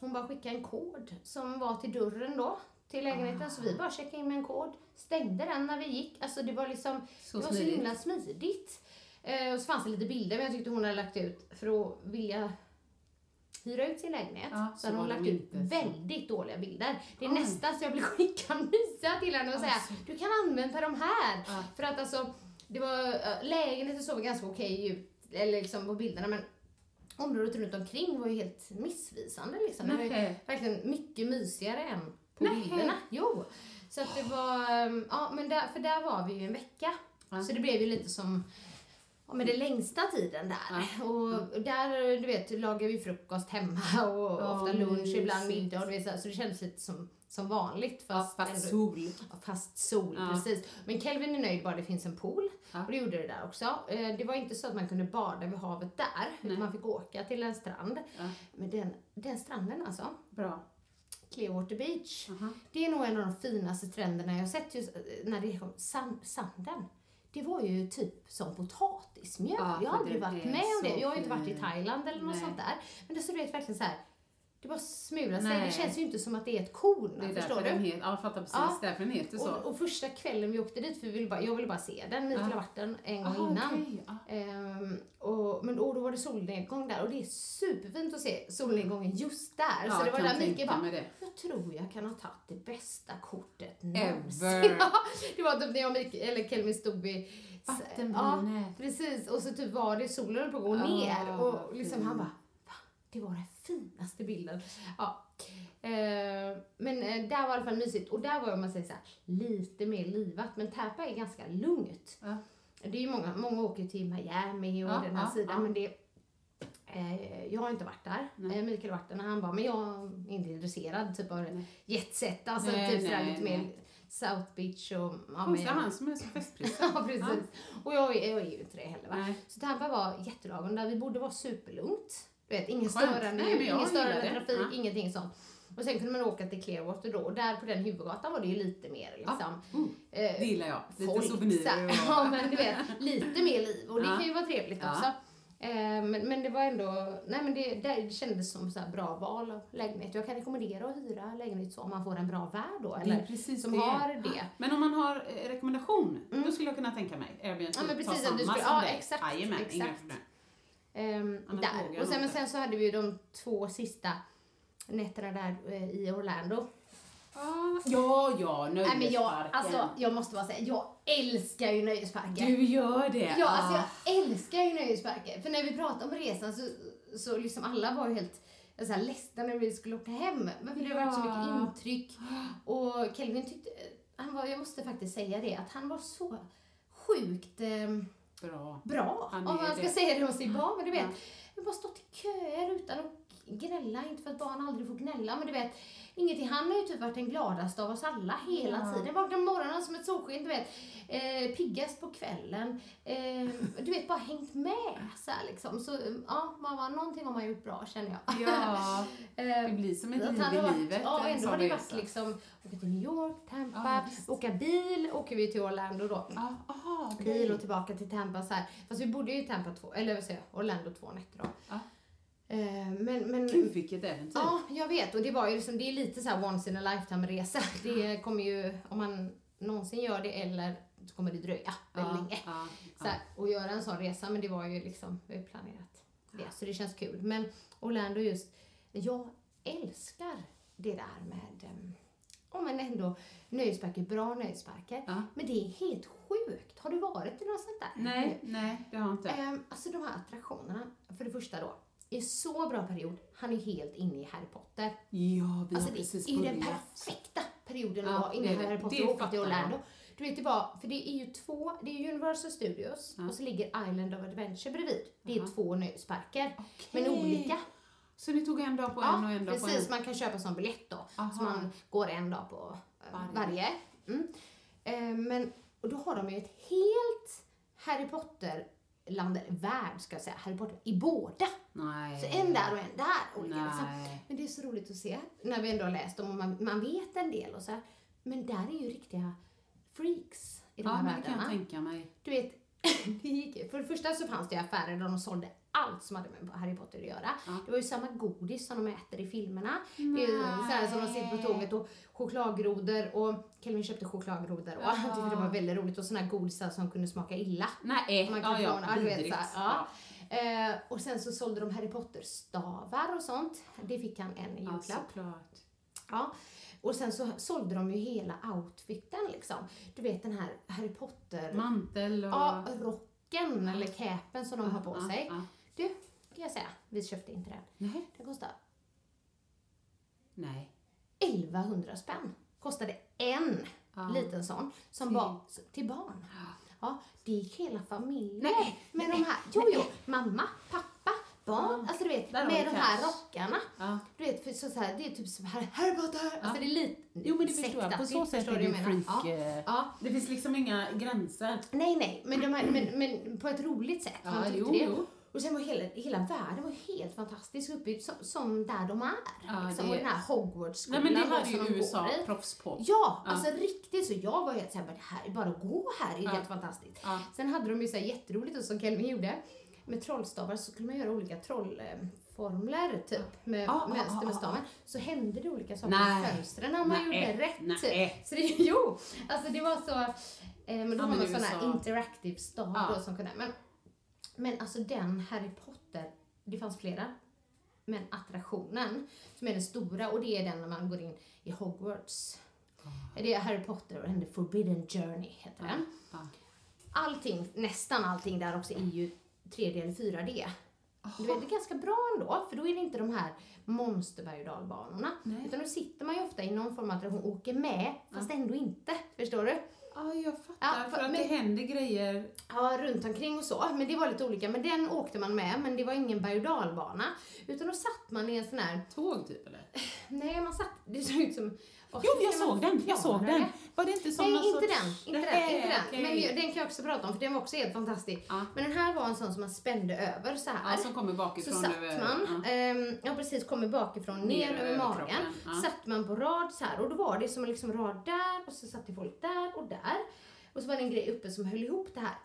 S3: hon bara skickade en kod som var till dörren då till lägenheten så
S1: Ah.
S3: vi bara checkade in med en kod, stängde den när vi gick. Alltså det var liksom,
S1: Så
S3: det var så
S1: smidigt.
S3: himla smidigt. Eh, och så fanns det lite bilder, men jag tyckte hon hade lagt ut för att vilja hyra ut sin lägenhet.
S1: Ja, så
S3: så hade hon
S1: var
S3: lagt
S1: de
S3: ut
S1: inte så.
S3: väldigt dåliga bilder. Det är
S1: Oj.
S3: nästan så jag vill skicka en visa till henne och säga,
S1: Alltså.
S3: du kan använda de här.
S1: Ja.
S3: För att alltså, det var, eh, lägenheten såg ganska okej ut, eller liksom på bilderna, men området runt omkring var ju helt missvisande liksom. Det var ju
S1: Nej.
S3: verkligen mycket mysigare än på
S1: Nej.
S3: bilderna. Jo. Så att det var, ehm, ja men där, för där var vi ju en vecka.
S1: Ja.
S3: Så det blev ju lite som Ja men den längsta tiden där. Och där, du vet, lagar vi frukost hemma och
S1: Ja,
S3: ofta lunch,
S1: mysigt.
S3: ibland middag och du vet, så, här. så det kändes lite som, som vanligt. Fast,
S1: Fast
S3: ändå-
S1: sol.
S3: Ja, fast sol,
S1: Ja.
S3: precis. Men Kelvin är nöjd bara det finns en pool.
S1: Ja.
S3: Och det gjorde det där också. Eh, Det var inte så att man kunde bada vid havet där.
S1: Nej.
S3: Utan man fick åka till en strand.
S1: Ja.
S3: Men den, den stranden alltså,
S1: Bra.
S3: Clearwater Beach. Det är nog en av de finaste stränderna jag har sett just eh, när det kom sand, sanden. Det var ju typ som potatismjöl.
S1: Ja,
S3: jag
S1: för
S3: har aldrig
S1: den
S3: varit
S1: är
S3: med om det.
S1: så
S3: Jag har ju inte varit i
S1: fin.
S3: Thailand eller något
S1: Nej.
S3: sånt där. Men det såg ut verkligen så här. Det bara smular sig.
S1: Nej.
S3: Det känns ju inte som att det är ett korn.
S1: Det är
S3: förstår
S1: därför
S3: du?
S1: den heter, ja jag fattar precis,
S3: Ja.
S1: därför den heter så.
S3: Och, och första kvällen vi åkte dit, för vi ville bara, jag ville bara se den. Mikael
S1: Ja.
S3: har varit den en gång
S1: Aha,
S3: innan.
S1: ah, okej, ja.
S3: Ehm, och, men och då var det solnedgång där och det är superfint att se solnedgången just där.
S1: Ja,
S3: så det var
S1: kan
S3: där
S1: tänka
S3: Mikael bara,
S1: mig det.
S3: jag tror jag kan ha tagit det bästa kortet
S1: Ever.
S3: någonsin. ja, det var typ när jag och Mikael, eller Kelvin stod vid
S1: Vattenbrynet.
S3: Ja, precis. Och så typ var det solen höll på att gå
S1: Ah,
S3: ner och liksom
S1: fint.
S3: han bara, va? Det var den finaste bilden. Ja. Eh, men eh, där var i alla fall mysigt och där var om man säger så här, lite mer livat men Tapa är ganska lugnt.
S1: Ja.
S3: Det är ju många, många åker ju till Miami och
S1: Ja,
S3: den här
S1: ja,
S3: sidan
S1: ja.
S3: men det eh, jag har inte varit där. Eh, Mikael har varit där när han bara, men jag är inte intresserad typ av jetset, alltså
S1: Nej,
S3: typ sådär
S1: nej,
S3: lite mer
S1: nej.
S3: South Beach och... Ja,
S1: Konstigt,
S3: men-
S1: han som är så festprins.
S3: Ja, precis. Och jag, är- jag är ju inte det heller. Va?
S1: Nej.
S3: Så Tampa var jättelagom. Där vi borde vara superlugnt. Du vet, ingen
S1: Skönt.
S3: störande,
S1: Nej, men jag
S3: ingen störande
S1: gillar det.
S3: trafik,
S1: Ja.
S3: ingenting sånt. Och sen kunde man åka till Clearwater då. Och där på den huvudgatan var det ju lite mer liksom... eh,
S1: Det gillar jag. Lite
S3: folk, så
S1: souvenirer
S3: här.
S1: och...
S3: Ja, men du vet, lite mer liv. Och det
S1: Ja.
S3: kan ju vara trevligt
S1: Ja.
S3: också. Eh, Men, men det var ändå, nej men det, det kändes som så här bra val av lägenhet. Jag kan rekommendera att hyra lägenhet så om man får en bra värd då.
S1: Det
S3: Eller,
S1: är precis
S3: som
S1: det.
S3: har det. Mm.
S1: Men om man har eh, rekommendation, då skulle jag kunna tänka mig Airbnb.
S3: Ja, men
S1: ta
S3: precis,
S1: samma
S3: att du skulle-
S1: som
S3: ja,
S1: dig.
S3: exakt,
S1: Jajamän, inga
S3: exakt.
S1: problem.
S3: Ehm,
S1: Annars vågar
S3: där.
S1: jag
S3: Och sen, men
S1: inte.
S3: sen så hade vi ju de två sista nätterna där eh, i Orlando.
S1: Ah, Ja, ja,
S3: Nej,
S1: nöjesparken.
S3: men jag, alltså, jag måste bara säga, jag älskar ju nöjesparker.
S1: Du gör det?
S3: Ja, alltså jag älskar ju nöjesparker. För när vi pratade om resan så, så liksom alla var ju helt så här ledsna när vi skulle åka hem. Men för det har varit så
S1: Ja.
S3: mycket intryck. Och Kelvin tyckte, han var, jag måste faktiskt säga det, att han var så sjukt ehm,
S1: Ah, Bra.
S3: bra. Om
S1: Han är
S3: man
S1: det.
S3: ska säga det om sitt barn, men du vet. Jag har bara stått i köer utan att gnälla, inte för att barn aldrig får gnälla, men du vet. Ingenting, han har ju typ varit den gladaste av oss alla hela tiden. Vaknar på morgonen som ett solsken, du vet. Eh, piggast på kvällen. Eh, du vet, bara hängt med så här liksom. Så ja, mamma, någonting har man gjort bra känner jag.
S1: Ja,
S3: Eh,
S1: det blir som ett
S3: att
S1: liv
S3: han har
S1: i
S3: varit-
S1: livet.
S3: Ja, och
S1: en
S3: ändå
S1: sån
S3: har det varit
S1: resa.
S3: liksom, åka till New York, Tampa,
S1: Ja, visst.
S3: åka bil, åker vi till Orlando då
S1: Ah, aha, okej.
S3: bil och tillbaka till Tampa så här. Fast vi bodde ju i Tampa två, eller vad säger jag, Orlando två nätter då.
S1: Ja.
S3: Eh, Men, men
S1: Gud, vilket äventyr.
S3: ja, jag vet. Och det var ju liksom, det är lite så här once in a lifetime resa. Det kommer ju, om man någonsin gör det eller så kommer det dröja väldigt länge.
S1: ja,
S3: Så här, och göra en sån resa, men det var ju liksom, vi har ju planerat det. Så det känns kul. Men Orlando just, jag älskar det där med, ehm, ja men ändå nöjesparker, bra nöjesparker.
S1: Ja.
S3: Men det är helt sjukt. Har du varit i något sånt där?
S1: Nej, nej, det har jag inte.
S3: Ehm, alltså de här attraktionerna, för det första då, i så bra period, han är helt inne i Harry Potter.
S1: ja, vi
S3: Alltså
S1: har
S3: det
S1: precis
S3: är ju den
S1: börjat.
S3: perfekta perioden att
S1: Ja,
S3: vara inne
S1: det
S3: i
S1: är det.
S3: Harry Potter
S1: Det
S3: och åka
S1: fattar
S3: till
S1: jag.
S3: Orlando. Du vet, det bara, för det är ju två, det är Universal Studios och så ligger Island of Adventure bredvid. Det är två nöjesparker, men olika.
S1: Så ni tog en dag på en och
S3: Ja,
S1: en dag på en?
S3: precis. Man kan köpa sån biljett då.
S1: Aha.
S3: Så man går en dag på eh,
S1: Varje.
S3: varje. Mm. Eh, men och då har de ju ett helt Harry Potter-land, eller värld ska jag säga, Harry Potter i båda.
S1: Nej.
S3: Så en där och en där. Olika, liksom.
S1: Nej.
S3: Men det är så roligt att se när vi ändå har läst dem och man, man vet en del och så här. Men där är ju riktiga freaks i de
S1: Ja,
S3: här
S1: men det kan
S3: världarna.
S1: jag tänka mig.
S3: Du vet, det gick, för det första så fanns det ju affärer där de sålde allt som hade med Harry Potter att göra. Det var ju samma godis som de äter i filmerna. Det är ju sådär som de sitter på tåget och chokladgrodor och Kelvin köpte chokladgrodor och han tyckte det var väldigt roligt och sådana här godisar som kunde smaka illa.
S1: Nej,
S3: Man
S1: ja,
S3: kan
S1: ja,
S3: få- du vet,
S1: vidrigt.
S3: såhär, ja. Eh, och sen så sålde de Harry Potter-stavar och sånt. Det fick han en i
S1: Ja,
S3: julklapp.
S1: såklart.
S3: Ja. Och sen så sålde de ju hela outfiten liksom. Du vet den här Harry Potter...
S1: Mantel och...
S3: Ja, rocken eller capen som de har på
S1: ja,
S3: sig.
S1: ja.
S3: Du, kan jag säga, vi köpte inte den.
S1: Nej.
S3: Den kostade
S1: Nej.
S3: 1100 spänn. Kostade en liten sån som var till barn. Ja, det gick hela familjen
S1: Nej,
S3: med de här. Jo, jo, mamma, pappa, barn. Alltså du vet,
S1: Där har vi
S3: med de här
S1: cash.
S3: rockarna.
S1: Ja.
S3: Du vet, för så så här, det är typ så här, Harry Potter. Alltså det är lite
S1: Jo men det förstår jag. På
S3: sektaktigt,
S1: så sätt
S3: förstår
S1: är det
S3: du
S1: ju
S3: vad jag menar?
S1: freak.
S3: Ja.
S1: eh,
S3: Ja.
S1: Det finns liksom inga gränser.
S3: Nej, nej, men, de här, men, men på ett roligt sätt.
S1: Ja,
S3: Han tyckte
S1: jo,
S3: det.
S1: jo.
S3: Och sen var hela, hela världen var helt fantastisk uppbyggd som, som där de är.
S1: Ja,
S3: liksom,
S1: det-
S3: Och den här
S1: Nej
S3: Hogwarts-skolan
S1: men det
S3: då
S1: hade
S3: som
S1: ju
S3: de
S1: USA
S3: går i.
S1: proffs på.
S3: Ja, alltså riktigt så jag var helt såhär, bara, det här, bara att gå här är
S1: Ja.
S3: helt fantastiskt.
S1: Ja.
S3: Sen hade de ju såhär jätteroligt och som Kelvin gjorde, med trollstavar så skulle man göra olika trollformler typ med
S1: Ah, ah,
S3: mönster
S1: ah,
S3: med
S1: ah,
S3: staven. Så hände det olika saker
S1: Nej.
S3: i fönstren när man
S1: Nej.
S3: gjorde rätt.
S1: Nej.
S3: typ. Så det, jo, alltså det var så, eh, men då
S1: Ja,
S3: har
S1: men
S3: man
S1: i
S3: sån här
S1: USA.
S3: interactive stav
S1: Ja.
S3: då som kunde, men, men alltså den Harry Potter, det fanns flera men attraktionen som är den stora och det är den när man går in i Hogwarts.
S1: Ah.
S3: Det är Harry Potter och The Forbidden Journey heter den.
S1: Ja.
S3: Allting, nästan allting där också är ju 3D eller 4D. Du vet, det är ganska bra ändå, för då är det inte de här monster berg och dalbanorna. Utan då sitter man ju ofta i någon form av attraktion och åker med, fast ändå inte. Förstår du?
S1: Ja, jag fattar.
S3: Ja,
S1: för att
S3: men-
S1: det händer grejer.
S3: Ja, runt omkring och så. Men det var lite olika. Men den åkte man med, men det var ingen berg och dalbana. Utan då satt man i en sån här
S1: Tåg typ eller?
S3: Nej, man satt... Det såg ut som... Åh,
S1: Jo,
S3: hur
S1: jag
S3: ska man
S1: såg den. Jag såg
S3: förklara
S1: den.
S3: det?
S1: Var det inte som någon
S3: Nej, inte
S1: sorts-
S3: den. Inte den.
S1: Nej,
S3: Inte den.
S1: okej.
S3: Men ju- den kan jag också prata om, för den var också helt fantastisk.
S1: Ja.
S3: Men den här var en sån som man spände över så här.
S1: Ja, som kommer bakifrån
S3: Så satt
S1: över-
S3: man.
S1: ja.
S3: ehm, Ja, precis. Kommer bakifrån,
S1: Ner
S3: ner, över
S1: över
S3: magen.
S1: kroppen, ja.
S3: Satt man på rad så här. Och då var det som en liksom rad där, och så satt det folk där och där. Och så var det en grej uppe som höll ihop det här.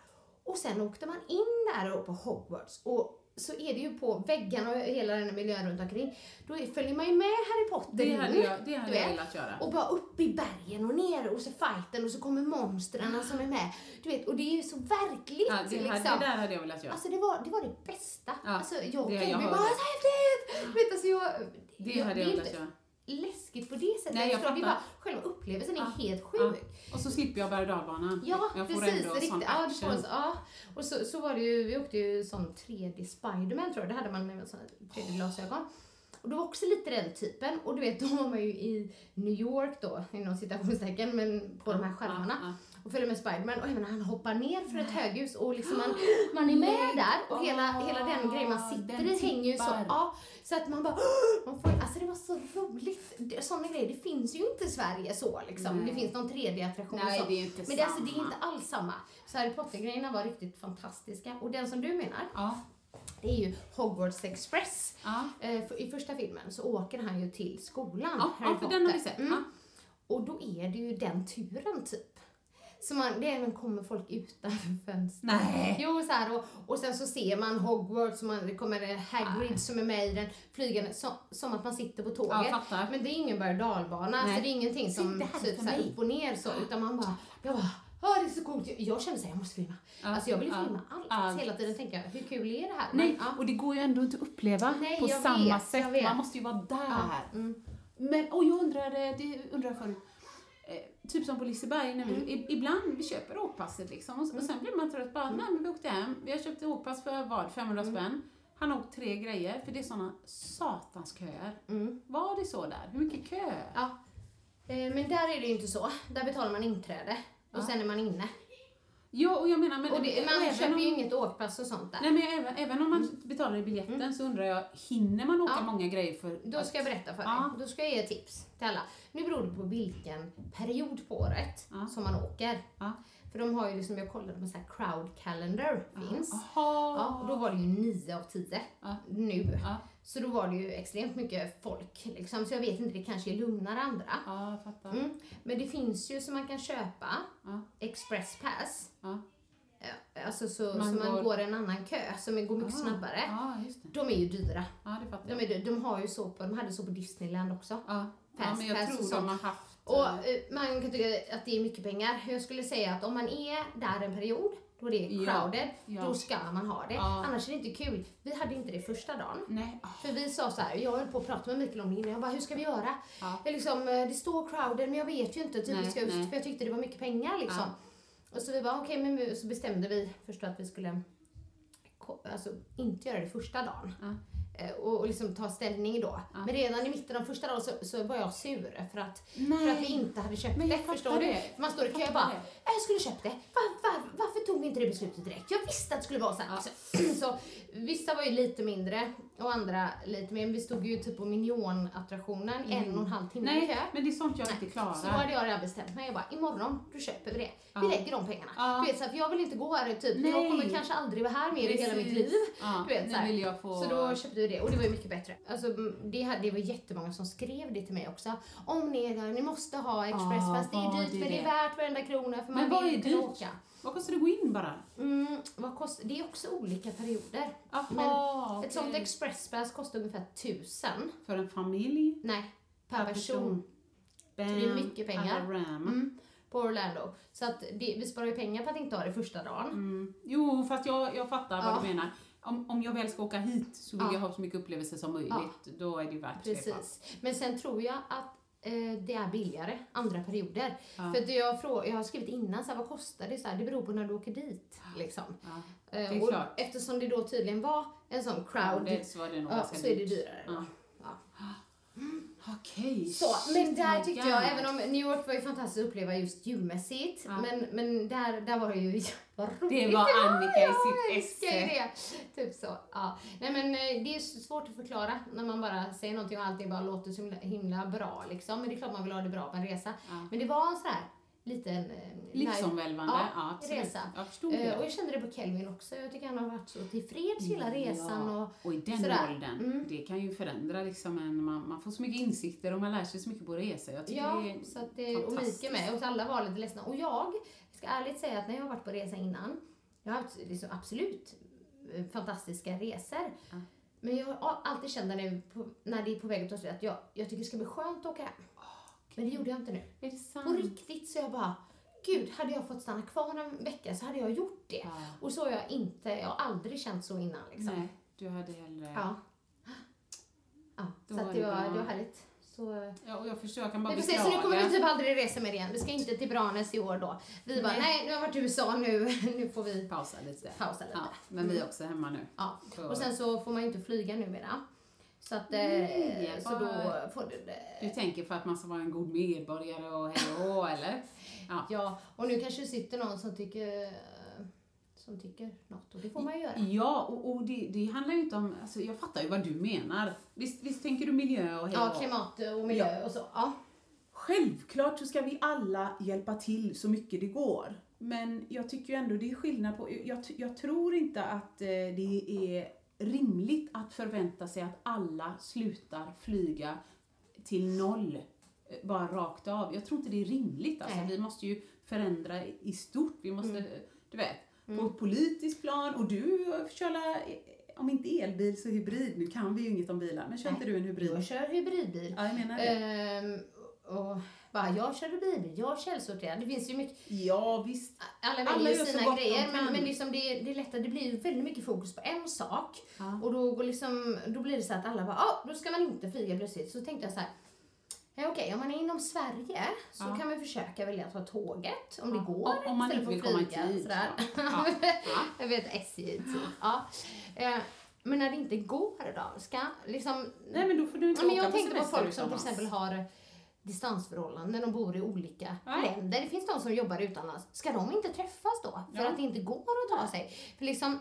S3: Och sen åkte man in där och på Hogwarts. Och så är det ju på väggarna och hela den här miljön runt omkring. Då är- följer man ju med Harry Potter
S1: Det
S3: in,
S1: hade jag- det hade
S3: du
S1: jag
S3: vet.
S1: velat göra.
S3: Och bara upp i bergen och ner och så fighten och så kommer monstren som är med. Du vet, och det är ju så verkligt
S1: Ja, det, hade,
S3: liksom.
S1: det där hade jag velat göra.
S3: Alltså det var, det var det bästa.
S1: Ja,
S3: alltså jag och
S1: det- jag
S3: Kevin
S1: hör
S3: bara
S1: det.
S3: så häftigt! Vet, alltså, jag,
S1: det
S3: jag-
S1: hade
S3: är
S1: jag
S3: inte
S1: velat göra.
S3: läskigt på det sättet.
S1: Nej, jag
S3: förstår, det är
S1: fattar.
S3: bara, själva upplevelsen är helt sjuk.
S1: Ja. Och så slipper jag berg och dalbanan.
S3: Ja,
S1: Mm. jag får
S3: precis.
S1: ändå sån
S3: Riktigt. Ja, du
S1: action.
S3: får en sån- ja. Och så, så var det ju, vi åkte ju sån 3D Spiderman tror jag, det hade man med en sån 3D-glasögon. Och det var också lite den typen. Och du vet, då var man ju i New York då, inom citationstecken, men på de här skärmarna. Och följde med Spiderman och även när han hoppar ner för ett höghus och liksom man, man är med där och hela, hela den grejen man sitter
S1: Ah, Den
S3: i hänger ju så.
S1: tippar.
S3: Ja, så att man bara man får, Alltså det var så roligt. Det- Såna grejer, det finns ju inte i Sverige så liksom. Det finns någon 3D-attraktion och
S1: Nej,
S3: så.
S1: det är inte
S3: Men det, alltså, det är
S1: samma.
S3: inte alls samma. Så Harry Potter-grejerna var riktigt fantastiska. Och den som du menar,
S1: Ja.
S3: det är ju Hogwarts Express.
S1: Ja.
S3: Eh, för- I första filmen så åker han ju till skolan,
S1: Ja,
S3: Harry
S1: ja, för
S3: Potter.
S1: den har vi sett.
S3: Mm.
S1: Ja.
S3: Och då är det ju den turen typ. Så man, det är när kommer folk utanför fönstret.
S1: Nej.
S3: Jo, så här, och, och sen så ser man Hogwarts och man, det kommer en Hagrid som är med i den flygande, som, som att man sitter på tåget.
S1: Ja, fattar.
S3: Men det är ingen berg och dalbana,
S1: Nej.
S3: så det är ingenting som
S1: Sitt här
S3: typ
S1: för
S3: så här,
S1: mig.
S3: upp och ner så, utan man bara, jag bara, "Ah, det är så coolt. Jag- Jag känner såhär, jag måste filma. alltså jag vill ju
S1: ja,
S3: filma allt.
S1: allt.
S3: Hela tiden tänker jag, hur kul är det här?
S1: Nej,
S3: Men, ja.
S1: och det går ju ändå inte att uppleva
S3: Nej,
S1: på
S3: jag
S1: samma
S3: vet, jag
S1: sätt.
S3: vet.
S1: Man måste ju vara där. mm. Men, och jag undrade, det undrar jag förut. Eh, typ som på Liseberg, när vi, i- ibland vi köper åkpasset liksom och, och sen blir man trött bara, nej men vi åkte hem, vi har köpt åkpass för vad, 500 spänn. Han har åkt tre grejer, för det är såna satans köer. Var det så där? Hur mycket kö?
S3: Ja. Eh, Men där är det ju inte så. Där betalar man inträde och sen är man inne.
S1: Ja, och jag menar, men,
S3: Och det,
S1: och även
S3: man köper ju
S1: om-
S3: inget åkpass och sånt där.
S1: Nej, men även, även om man betalar i biljetten så undrar jag, hinner man åka
S3: Ja.
S1: många grejer för
S3: Då
S1: att-
S3: ska jag berätta för dig.
S1: Ja.
S3: Då ska jag ge tips till alla. Nu beror det på vilken period på året
S1: Ja.
S3: som man åker.
S1: Ja.
S3: För de har ju liksom, jag kollade på så här crowd calendar finns.
S1: Jaha.
S3: Ja, och då var det ju 9 av 10
S1: Ja.
S3: nu.
S1: Ja.
S3: Så då var det ju extremt mycket folk liksom. Så jag vet inte, det kanske är lugnare andra.
S1: Ja, jag fattar.
S3: Mm. Men det finns ju som man kan köpa
S1: Ja.
S3: express pass.
S1: Ja.
S3: Ja, Alltså så,
S1: Man
S3: så
S1: går-
S3: man går en annan kö som går mycket
S1: Ah,
S3: snabbare.
S1: Ja, just det.
S3: De är ju dyra.
S1: Ja, det fattar
S3: De,
S1: jag.
S3: är, dyra. de, har ju så på, de hade så på Disneyland också.
S1: Ja, ja
S3: Fast-
S1: men jag
S3: fast
S1: tror de
S3: sånt.
S1: har haft...
S3: Och
S1: eh,
S3: eh, man kan tycka att det är mycket pengar. Jag skulle säga att om man är där en period, då det är
S1: Ja,
S3: crowded,
S1: ja.
S3: då ska man ha det.
S1: Ja.
S3: Annars är det inte kul. Vi hade inte det första dagen.
S1: nej, ah,
S3: För vi sa så här, jag höll på att prata med Mikael om det innan. Jag bara, hur ska vi göra?
S1: Ja.
S3: Det, är liksom, eh, det står crowded, men jag vet ju inte. Typ,
S1: Nej,
S3: vi ska ut,
S1: nej.
S3: för jag tyckte det var mycket pengar liksom. Och så vi bara, okej, men nu- så bestämde vi först att vi skulle ko- alltså, inte göra det första dagen.
S1: Ja.
S3: Eh, Och, och liksom ta ställning då.
S1: Ja.
S3: Men redan i mitten av första dagen så, så var jag sur för att, för
S1: Nej.
S3: att vi inte hade köpt
S1: Men
S3: det.
S1: jag
S3: Förstår
S1: fattar
S3: du?
S1: det.
S3: Man står i
S1: Jag
S3: kö och
S1: fattar
S3: bara, Eh, jag skulle köpt det. Var, var, varför tog vi inte det beslutet direkt? Jag visste att det skulle vara så här.
S1: Ja.
S3: Så, så vissa var ju lite mindre och andra lite mer. Men Vi stod ju typ på Minion-attraktionen en och en halv timme i kö.
S1: nej, men det är sånt jag inte klarar.
S3: Så då hade jag redan bestämt mig. Jag bara, imorgon, då köper vi det. Vi
S1: Ja.
S3: lägger de pengarna.
S1: Ja.
S3: Du vet, så här, för jag vill inte gå här typ,
S1: Nej.
S3: jag kommer kanske aldrig vara här mer i hela mitt
S1: Precis.
S3: liv.
S1: Ja,
S3: Du vet,
S1: nu
S3: så, här.
S1: vill jag få-
S3: så då köpte vi det och det var ju mycket bättre. Alltså, m, det, hade, det var jättemånga som skrev det till mig också. Om ni är där, ni måste ha expresspass. det
S1: ha
S3: är dyrt
S1: det,
S3: men det
S1: det.
S3: är värt varenda krona för man
S1: Men vad
S3: vill
S1: är
S3: inte
S1: dyrt?
S3: åka.
S1: Vad kostar det att gå in bara?
S3: Mm, vad kostar, det är också olika perioder.
S1: Aha,
S3: men ett sånt
S1: okej.
S3: expresspass kostar ungefär tusen.
S1: För en familj?
S3: Nej, per person.
S1: Bam,
S3: det är mycket pengar.
S1: Alarama.
S3: Mm, på Orlando. Så att det, vi sparar ju pengar på att inte ha det första dagen.
S1: Jo, fast jag, jag fattar vad
S3: Ja.
S1: du menar. Om, om jag väl ska åka hit så vill
S3: Ja.
S1: jag ha så mycket upplevelser som möjligt. Då är det ju värt det. fast.
S3: Precis. Men sen tror jag att eh, det är billigare andra perioder. För att jag, frå- jag har skrivit innan, så här, vad kostar det? Så här, det beror på när du åker dit. Liksom.
S1: Ja,
S3: Eh,
S1: det är
S3: och
S1: klart.
S3: Eftersom det då tydligen var en sån crowd
S1: Ja, det- så var det nog
S3: ja,
S1: ganska
S3: så är det
S1: dyrt.
S3: dyrare. då.
S1: Ja.
S3: Ja.
S1: Okej.
S3: Så, men
S1: shit,
S3: där
S1: Oh my
S3: tyckte
S1: God.
S3: jag, även om New York var ju fantastiskt att uppleva just julmässigt, men, men där, där var det ju vad roligt
S1: Det var Annika i
S3: jag
S1: sitt
S3: älskar ju
S1: esse.
S3: det. Typ så. Ja. Nej men eh, det är så svårt att förklara när man bara säger någonting och allting bara låter så himla, himla bra liksom. Men det är klart man vill ha det bra på en resa. Men det var en sån här liten... eh,
S1: Livsomvälvande,
S3: live-
S1: ja, absolut.
S3: resa.
S1: Jag förstod
S3: Eh,
S1: det.
S3: Och jag kände det på Kelvin också. Jag tycker han har varit så tillfreds hela resan
S1: Mm, Ja,
S3: och
S1: och i den
S3: sådär. Mm.
S1: åldern, det kan ju förändra liksom en, man, man får så mycket insikter och man lär sig så mycket på resor. Jag tycker
S3: Ja,
S1: det är
S3: så att det, och
S1: fantastiskt.
S3: Mikael med. Och så alla var lite ledsna. Och jag ska ärligt säga att när jag har varit på resa innan, jag har haft liksom absolut eh, fantastiska resor. Men jag har alltid känt när det är på, när det är på väg att ta slut att jag, jag tycker det ska bli skönt att åka hem. Men det gjorde jag inte nu.
S1: Är det
S3: På
S1: sant?
S3: riktigt så jag bara, gud, hade jag fått stanna kvar en vecka så hade jag gjort det. Och så har jag inte, jag har aldrig känt så innan liksom.
S1: Nej, du hade hellre...
S3: Ja. Ja,
S1: Då
S3: så
S1: var
S3: att det
S1: det
S3: var,
S1: bra.
S3: det var härligt. Så, eh,
S1: Ja, och jag förstår, jag kan bara
S3: Nej, precis, så nu kommer vi
S1: beklaga.
S3: typ aldrig resa med det igen. Vi ska inte till Branäs i år då. Vi bara,
S1: Nej.
S3: nej, nu har jag varit i USA nu, nu får vi...
S1: pausa lite.
S3: Pausa lite. Mm.
S1: Ja, men vi är också hemma nu.
S3: Ja.
S1: Så-
S3: Och sen så får man ju inte flyga numera. Så att, eh, så då
S1: vad-
S3: får du det.
S1: Du tänker för att man ska vara en god medborgare och hej och hå, eller? Ja.
S3: Ja, och nu kanske det sitter någon som tycker, eh, som tycker något och det får man ju göra.
S1: Ja, och, och det, det handlar ju inte om... Alltså, jag fattar ju vad du menar. Visst, visst tänker du miljö och hej och
S3: Ja,
S1: hå?
S3: klimat och miljö och så. Ja.
S1: Självklart så ska vi alla hjälpa till så mycket det går. Men jag tycker ju ändå det är skillnad på, jag, jag tror inte att eh, det är rimligt att förvänta sig att alla slutar flyga till noll, eh, bara rakt av. Jag tror inte det är rimligt alltså.
S3: Nej. Mm.
S1: Vi måste ju förändra i i stort, vi måste, du vet, på ett politiskt plan. Och du köra, eh, om inte elbil så hybrid, nu kan vi ju inget om bilar, men kör inte du en hybrid?
S3: Jag kör hybridbil.
S1: Ja, jag menar det.
S3: Ehm, och bara, jag kör hybridbil, jag källsorterar. Det finns ju mycket,
S1: Ja, visst.
S3: alla
S1: Alla
S3: väljer
S1: gör
S3: ju
S1: så
S3: sina
S1: gott de
S3: grejer men,
S1: kan.
S3: men liksom det, det är lättare, det blir ju väldigt mycket fokus på en sak
S1: Ja.
S3: och då, går liksom, då blir det så att alla bara ah, då ska man inte flyga plötsligt. Så tänkte jag så här Ja, Okej, om man är inom Sverige så kan man försöka välja att ta tåget om det går.
S1: Om- om man
S3: istället
S1: inte
S3: för att
S1: vill komma i tid,
S3: sådär.
S1: så. Ja. Ja.
S3: jag vet, SJ i tid. Ja. Eh, Men när det inte går då? Ska liksom...
S1: Nej men då får du inte
S3: Ja, men
S1: åka
S3: jag
S1: på
S3: tänkte på
S1: semester liksom,
S3: folk som till
S1: utomlands.
S3: exempel har eh, distansförhållanden och bor i olika
S1: Nej.
S3: länder. Det finns de som jobbar utomlands. Ska de inte träffas då? För
S1: Ja.
S3: att det inte går att ta sig. För liksom,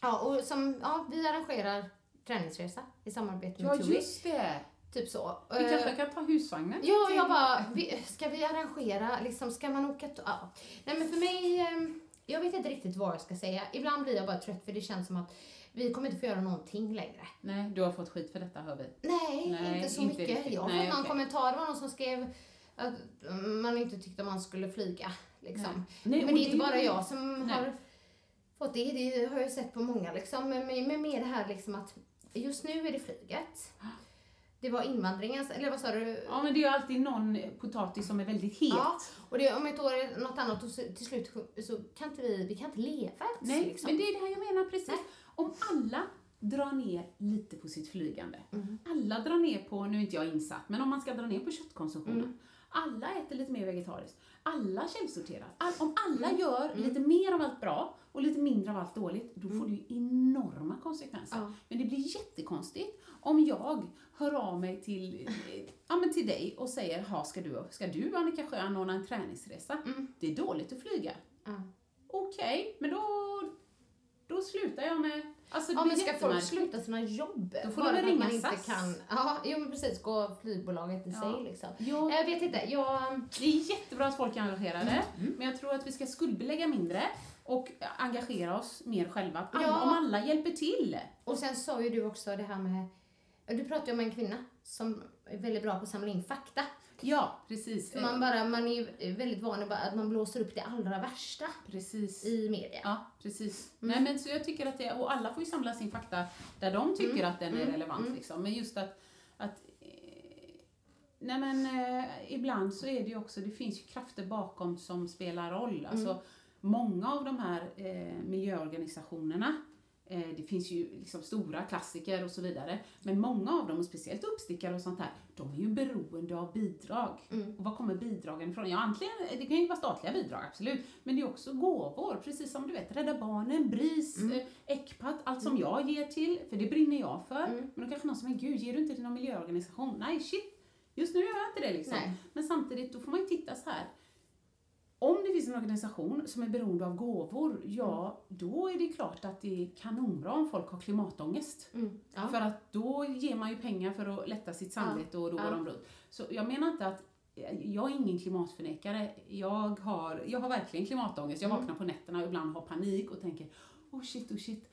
S3: ja, och som, ja, vi arrangerar träningsresa i samarbete med
S1: Ja,
S3: TUI.
S1: just det.
S3: Typ så.
S1: Vi
S3: Eh,
S1: kanske kan ta husvagnen?
S3: Ja,
S1: till-
S3: jag bara, vi- ska vi arrangera, liksom, ska man åka to- ja. Nej men för mig, ehm, jag vet inte riktigt vad jag ska säga. Ibland blir jag bara trött för det känns som att vi kommer inte få göra någonting längre.
S1: Nej, du har fått skit för detta hör vi.
S3: Nej,
S1: Nej,
S3: inte så
S1: inte
S3: mycket.
S1: riktigt.
S3: Jag har
S1: Nej,
S3: fått någon
S1: okej.
S3: kommentar, det var någon som skrev att man inte tyckte man skulle flyga. Liksom.
S1: Nej. Nej,
S3: men
S1: och
S3: det är inte
S1: det-
S3: bara jag som
S1: Nej.
S3: har fått det, det har jag sett på många. Liksom. Men, men, men mer det här liksom att just nu är det flyget. Det var invandringens, eller vad sa du?
S1: Ja, men det är ju alltid någon potatis som är väldigt het.
S3: Ja, och det, om ett år är något annat och så, till slut så kan inte vi, vi kan inte leva ens,
S1: Nej,
S3: liksom.
S1: men det är det här jag menar precis.
S3: Nej.
S1: Om alla drar ner lite på sitt flygande.
S3: Mm.
S1: Alla drar ner på, nu är inte jag insatt, men om man ska dra ner på köttkonsumtionen.
S3: Mm.
S1: Alla äter lite mer vegetariskt. Alla källsorterar. All, om alla
S3: Mm.
S1: gör lite mer av allt bra och lite mindre av allt dåligt, då får det ju enorma konsekvenser.
S3: Mm. Ja.
S1: Men det blir jättekonstigt om jag hör av mig till, eh, ja, men till dig och säger, "Ha, ska du, ska du Annika Sjö anordna en träningsresa?
S3: Mm.
S1: Det är dåligt att flyga.
S3: Ja.
S1: Okej, men då, då slutar jag med... Alltså, det
S3: Ja,
S1: blir
S3: men ska folk
S1: jättemärkligt.
S3: sluta sina jobb?
S1: Då får
S3: bara
S1: de väl
S3: för att
S1: ringa
S3: man inte
S1: SAS.
S3: kan, Ja, jo, men precis. Gå flygbolaget i
S1: Ja.
S3: sig liksom.
S1: Ja.
S3: Jag vet inte, jag...
S1: Det är jättebra att folk är
S3: Mm.
S1: engagerade, men jag tror att vi ska skuldbelägga mindre och engagera oss mer själva. Alla,
S3: Ja.
S1: Om alla hjälper till.
S3: Och sen sa ju du också det här med... Du pratade ju om en kvinna som är väldigt bra på att samla in fakta.
S1: Ja, precis.
S3: För man, bara, man är ju väldigt van att bara- att man blåser upp det allra värsta
S1: precis.
S3: i Mm. media.
S1: Ja, precis. Nej, men så jag tycker att det, och alla får ju samla sin fakta där de tycker
S3: Mm.
S1: att den är relevant. Liksom. Men just att, att eh, nej men, eh, ibland så är det ju också, det finns ju krafter bakom som spelar roll. Alltså, Många av de här eh, miljöorganisationerna eh, det finns ju liksom stora klassiker och så vidare. Men många av dem, och speciellt uppstickare och sånt här, de är ju beroende av bidrag. Och var kommer bidragen ifrån? Ja, antingen, det kan ju vara statliga bidrag, absolut. Men det är också gåvor, precis som du vet, Rädda Barnen, BRIS, mm. Ecpat, allt som jag ger till, för det brinner jag för. Men då kanske någon säger, men gud, ger du inte till någon miljöorganisation? Nej, shit, just nu gör jag inte det liksom.
S3: Nej.
S1: Men samtidigt, då får man ju titta så här, om det finns en organisation som är beroende av gåvor,
S3: Mm.
S1: ja, då är det klart att det är kanonbra om folk har klimatångest.
S3: Mm. Ja.
S1: För att då ger man ju pengar för att lätta sitt samvete och då går
S3: Ja.
S1: de runt. Så jag menar inte att jag är ingen klimatförnekare. Jag har, jag har verkligen klimatångest.
S3: Mm.
S1: Jag vaknar på nätterna och ibland har panik och tänker oh shit, oh shit.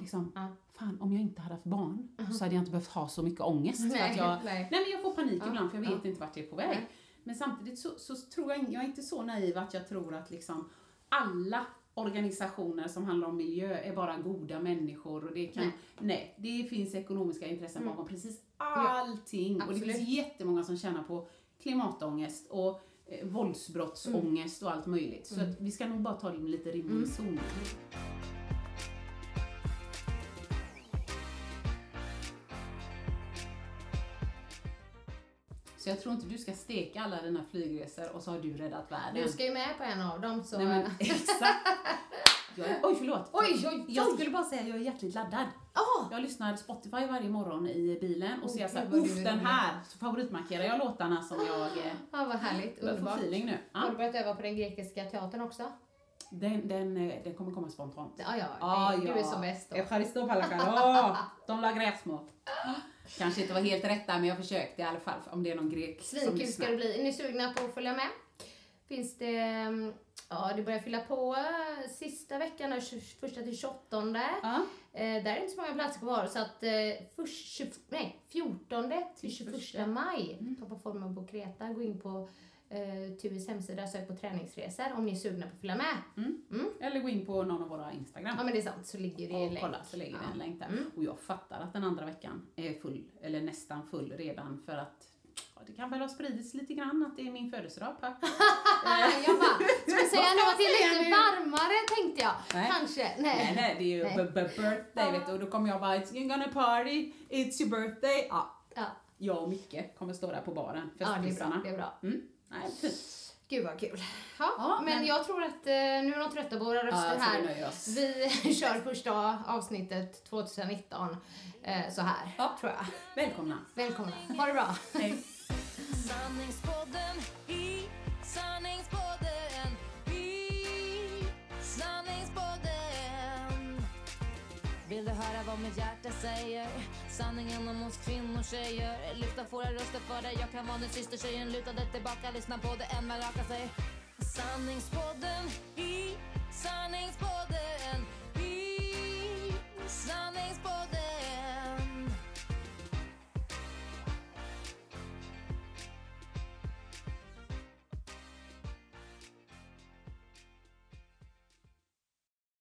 S1: Liksom,
S3: Ja.
S1: Fan, om jag inte hade haft barn så hade jag inte behövt ha så mycket ångest. för
S3: Nej,
S1: att jag,
S3: nej.
S1: nej men jag får panik ibland för jag vet
S3: ja.
S1: inte vart jag är på väg.
S3: Nej.
S1: Men samtidigt så, så tror jag, jag är inte så naiv att jag tror att liksom alla organisationer som handlar om miljö är bara goda människor och det kan, nej,
S3: Nej. Mm.
S1: det finns ekonomiska intressen bakom precis allting och det
S3: absolut.
S1: finns jättemånga som tjänar på klimatångest och eh, våldsbrottsångest
S3: Mm.
S1: och allt möjligt. Så att vi ska nog bara ta det med lite rimlig zon. Så jag tror inte du ska steka alla dina flygresor och så har du räddat världen.
S3: Du ska ju med på en av dem så...
S1: Nej, men, exakt. Jag är, oj, förlåt.
S3: Oj, oj, oj.
S1: Jag skulle bara säga att jag är hjärtligt laddad.
S3: Ah!
S1: Jag lyssnar Spotify varje morgon i bilen och ser
S3: Åh,
S1: så här,
S3: gud, vad
S1: "Uff,
S3: du är
S1: den
S3: rolig."
S1: här. Så favoritmarkerar jag låtarna som jag eh,
S3: Ja, vad härligt.
S1: jag får
S3: Underbart.
S1: feeling nu. Ja.
S3: Har du börjat öva på den grekiska teatern också?
S1: Den, den, eh, den kommer komma spontant.
S3: Ja, ja.
S1: Ah,
S3: det- Du är som bäst då.
S1: Evaristo Palakalo. De la gräsmått. Kanske inte var helt rätt där, men jag försökte i alla fall. Om det är någon grek som
S3: Svinkul ska
S1: lyssnar.
S3: det bli. Är ni sugna på att följa med? Finns det... mm, Ja, det börjar fylla på eh, sista veckan, den 21 till 28.
S1: Ja.
S3: Eh, där är inte så många platser kvar, så att eh, först, 20, nej, 14 till 21 maj,
S1: Mm.
S3: Toppa formen på Kreta, gå in på eh, TUIs hemsida, sök på träningsresor om ni är sugna på att följa med.
S1: Mm. Eller gå in på någon av våra Instagram.
S3: Ja, men det är Mm. sant, så ligger det
S1: och
S3: länk.
S1: kolla så lägger vi en länk där. Och jag fattar att den andra veckan är full, eller nästan full redan för att ja, det kan väl ha spridits lite grann att det är min födelsedag. pa.
S3: Ah, jag bara, ska jag säga något till
S1: säga
S3: lite
S1: nu?
S3: varmare tänkte jag.
S1: Nej.
S3: Kanske. Nej.
S1: Nej, nej, det är ju
S3: Nej.
S1: b- b- birthday vet du och då kommer jag bara It's gonna party, it's your birthday. Ja,
S3: Ja.
S1: jag och Micke kommer stå där på baren,
S3: ja, det är bra.
S1: festprissarna.
S3: Det är bra.
S1: Mm. Nej, fint.
S3: Gud vad kul. Ja,
S1: Ja,
S3: men,
S1: men-
S3: jag tror att eh, nu är de trötta på våra röster
S1: Ja, så vi nöjer
S3: här.
S1: oss.
S3: Vi kör första avsnittet 2019 eh, så här,
S1: Ja.
S3: tror jag.
S1: Välkomna.
S3: Välkomna. Ha det bra.
S1: Hej.
S2: Sanningspodden i sanningspodden i sanningspodden Vill du höra vad mitt hjärta säger? Sanningen om oss kvinnor, tjejer Lyfta våra röster för dig, jag kan vara din syster Tjejen lutade tillbaka, lyssna på det än man rakar sig Sanningspodden i sanningspodden i sanningspodden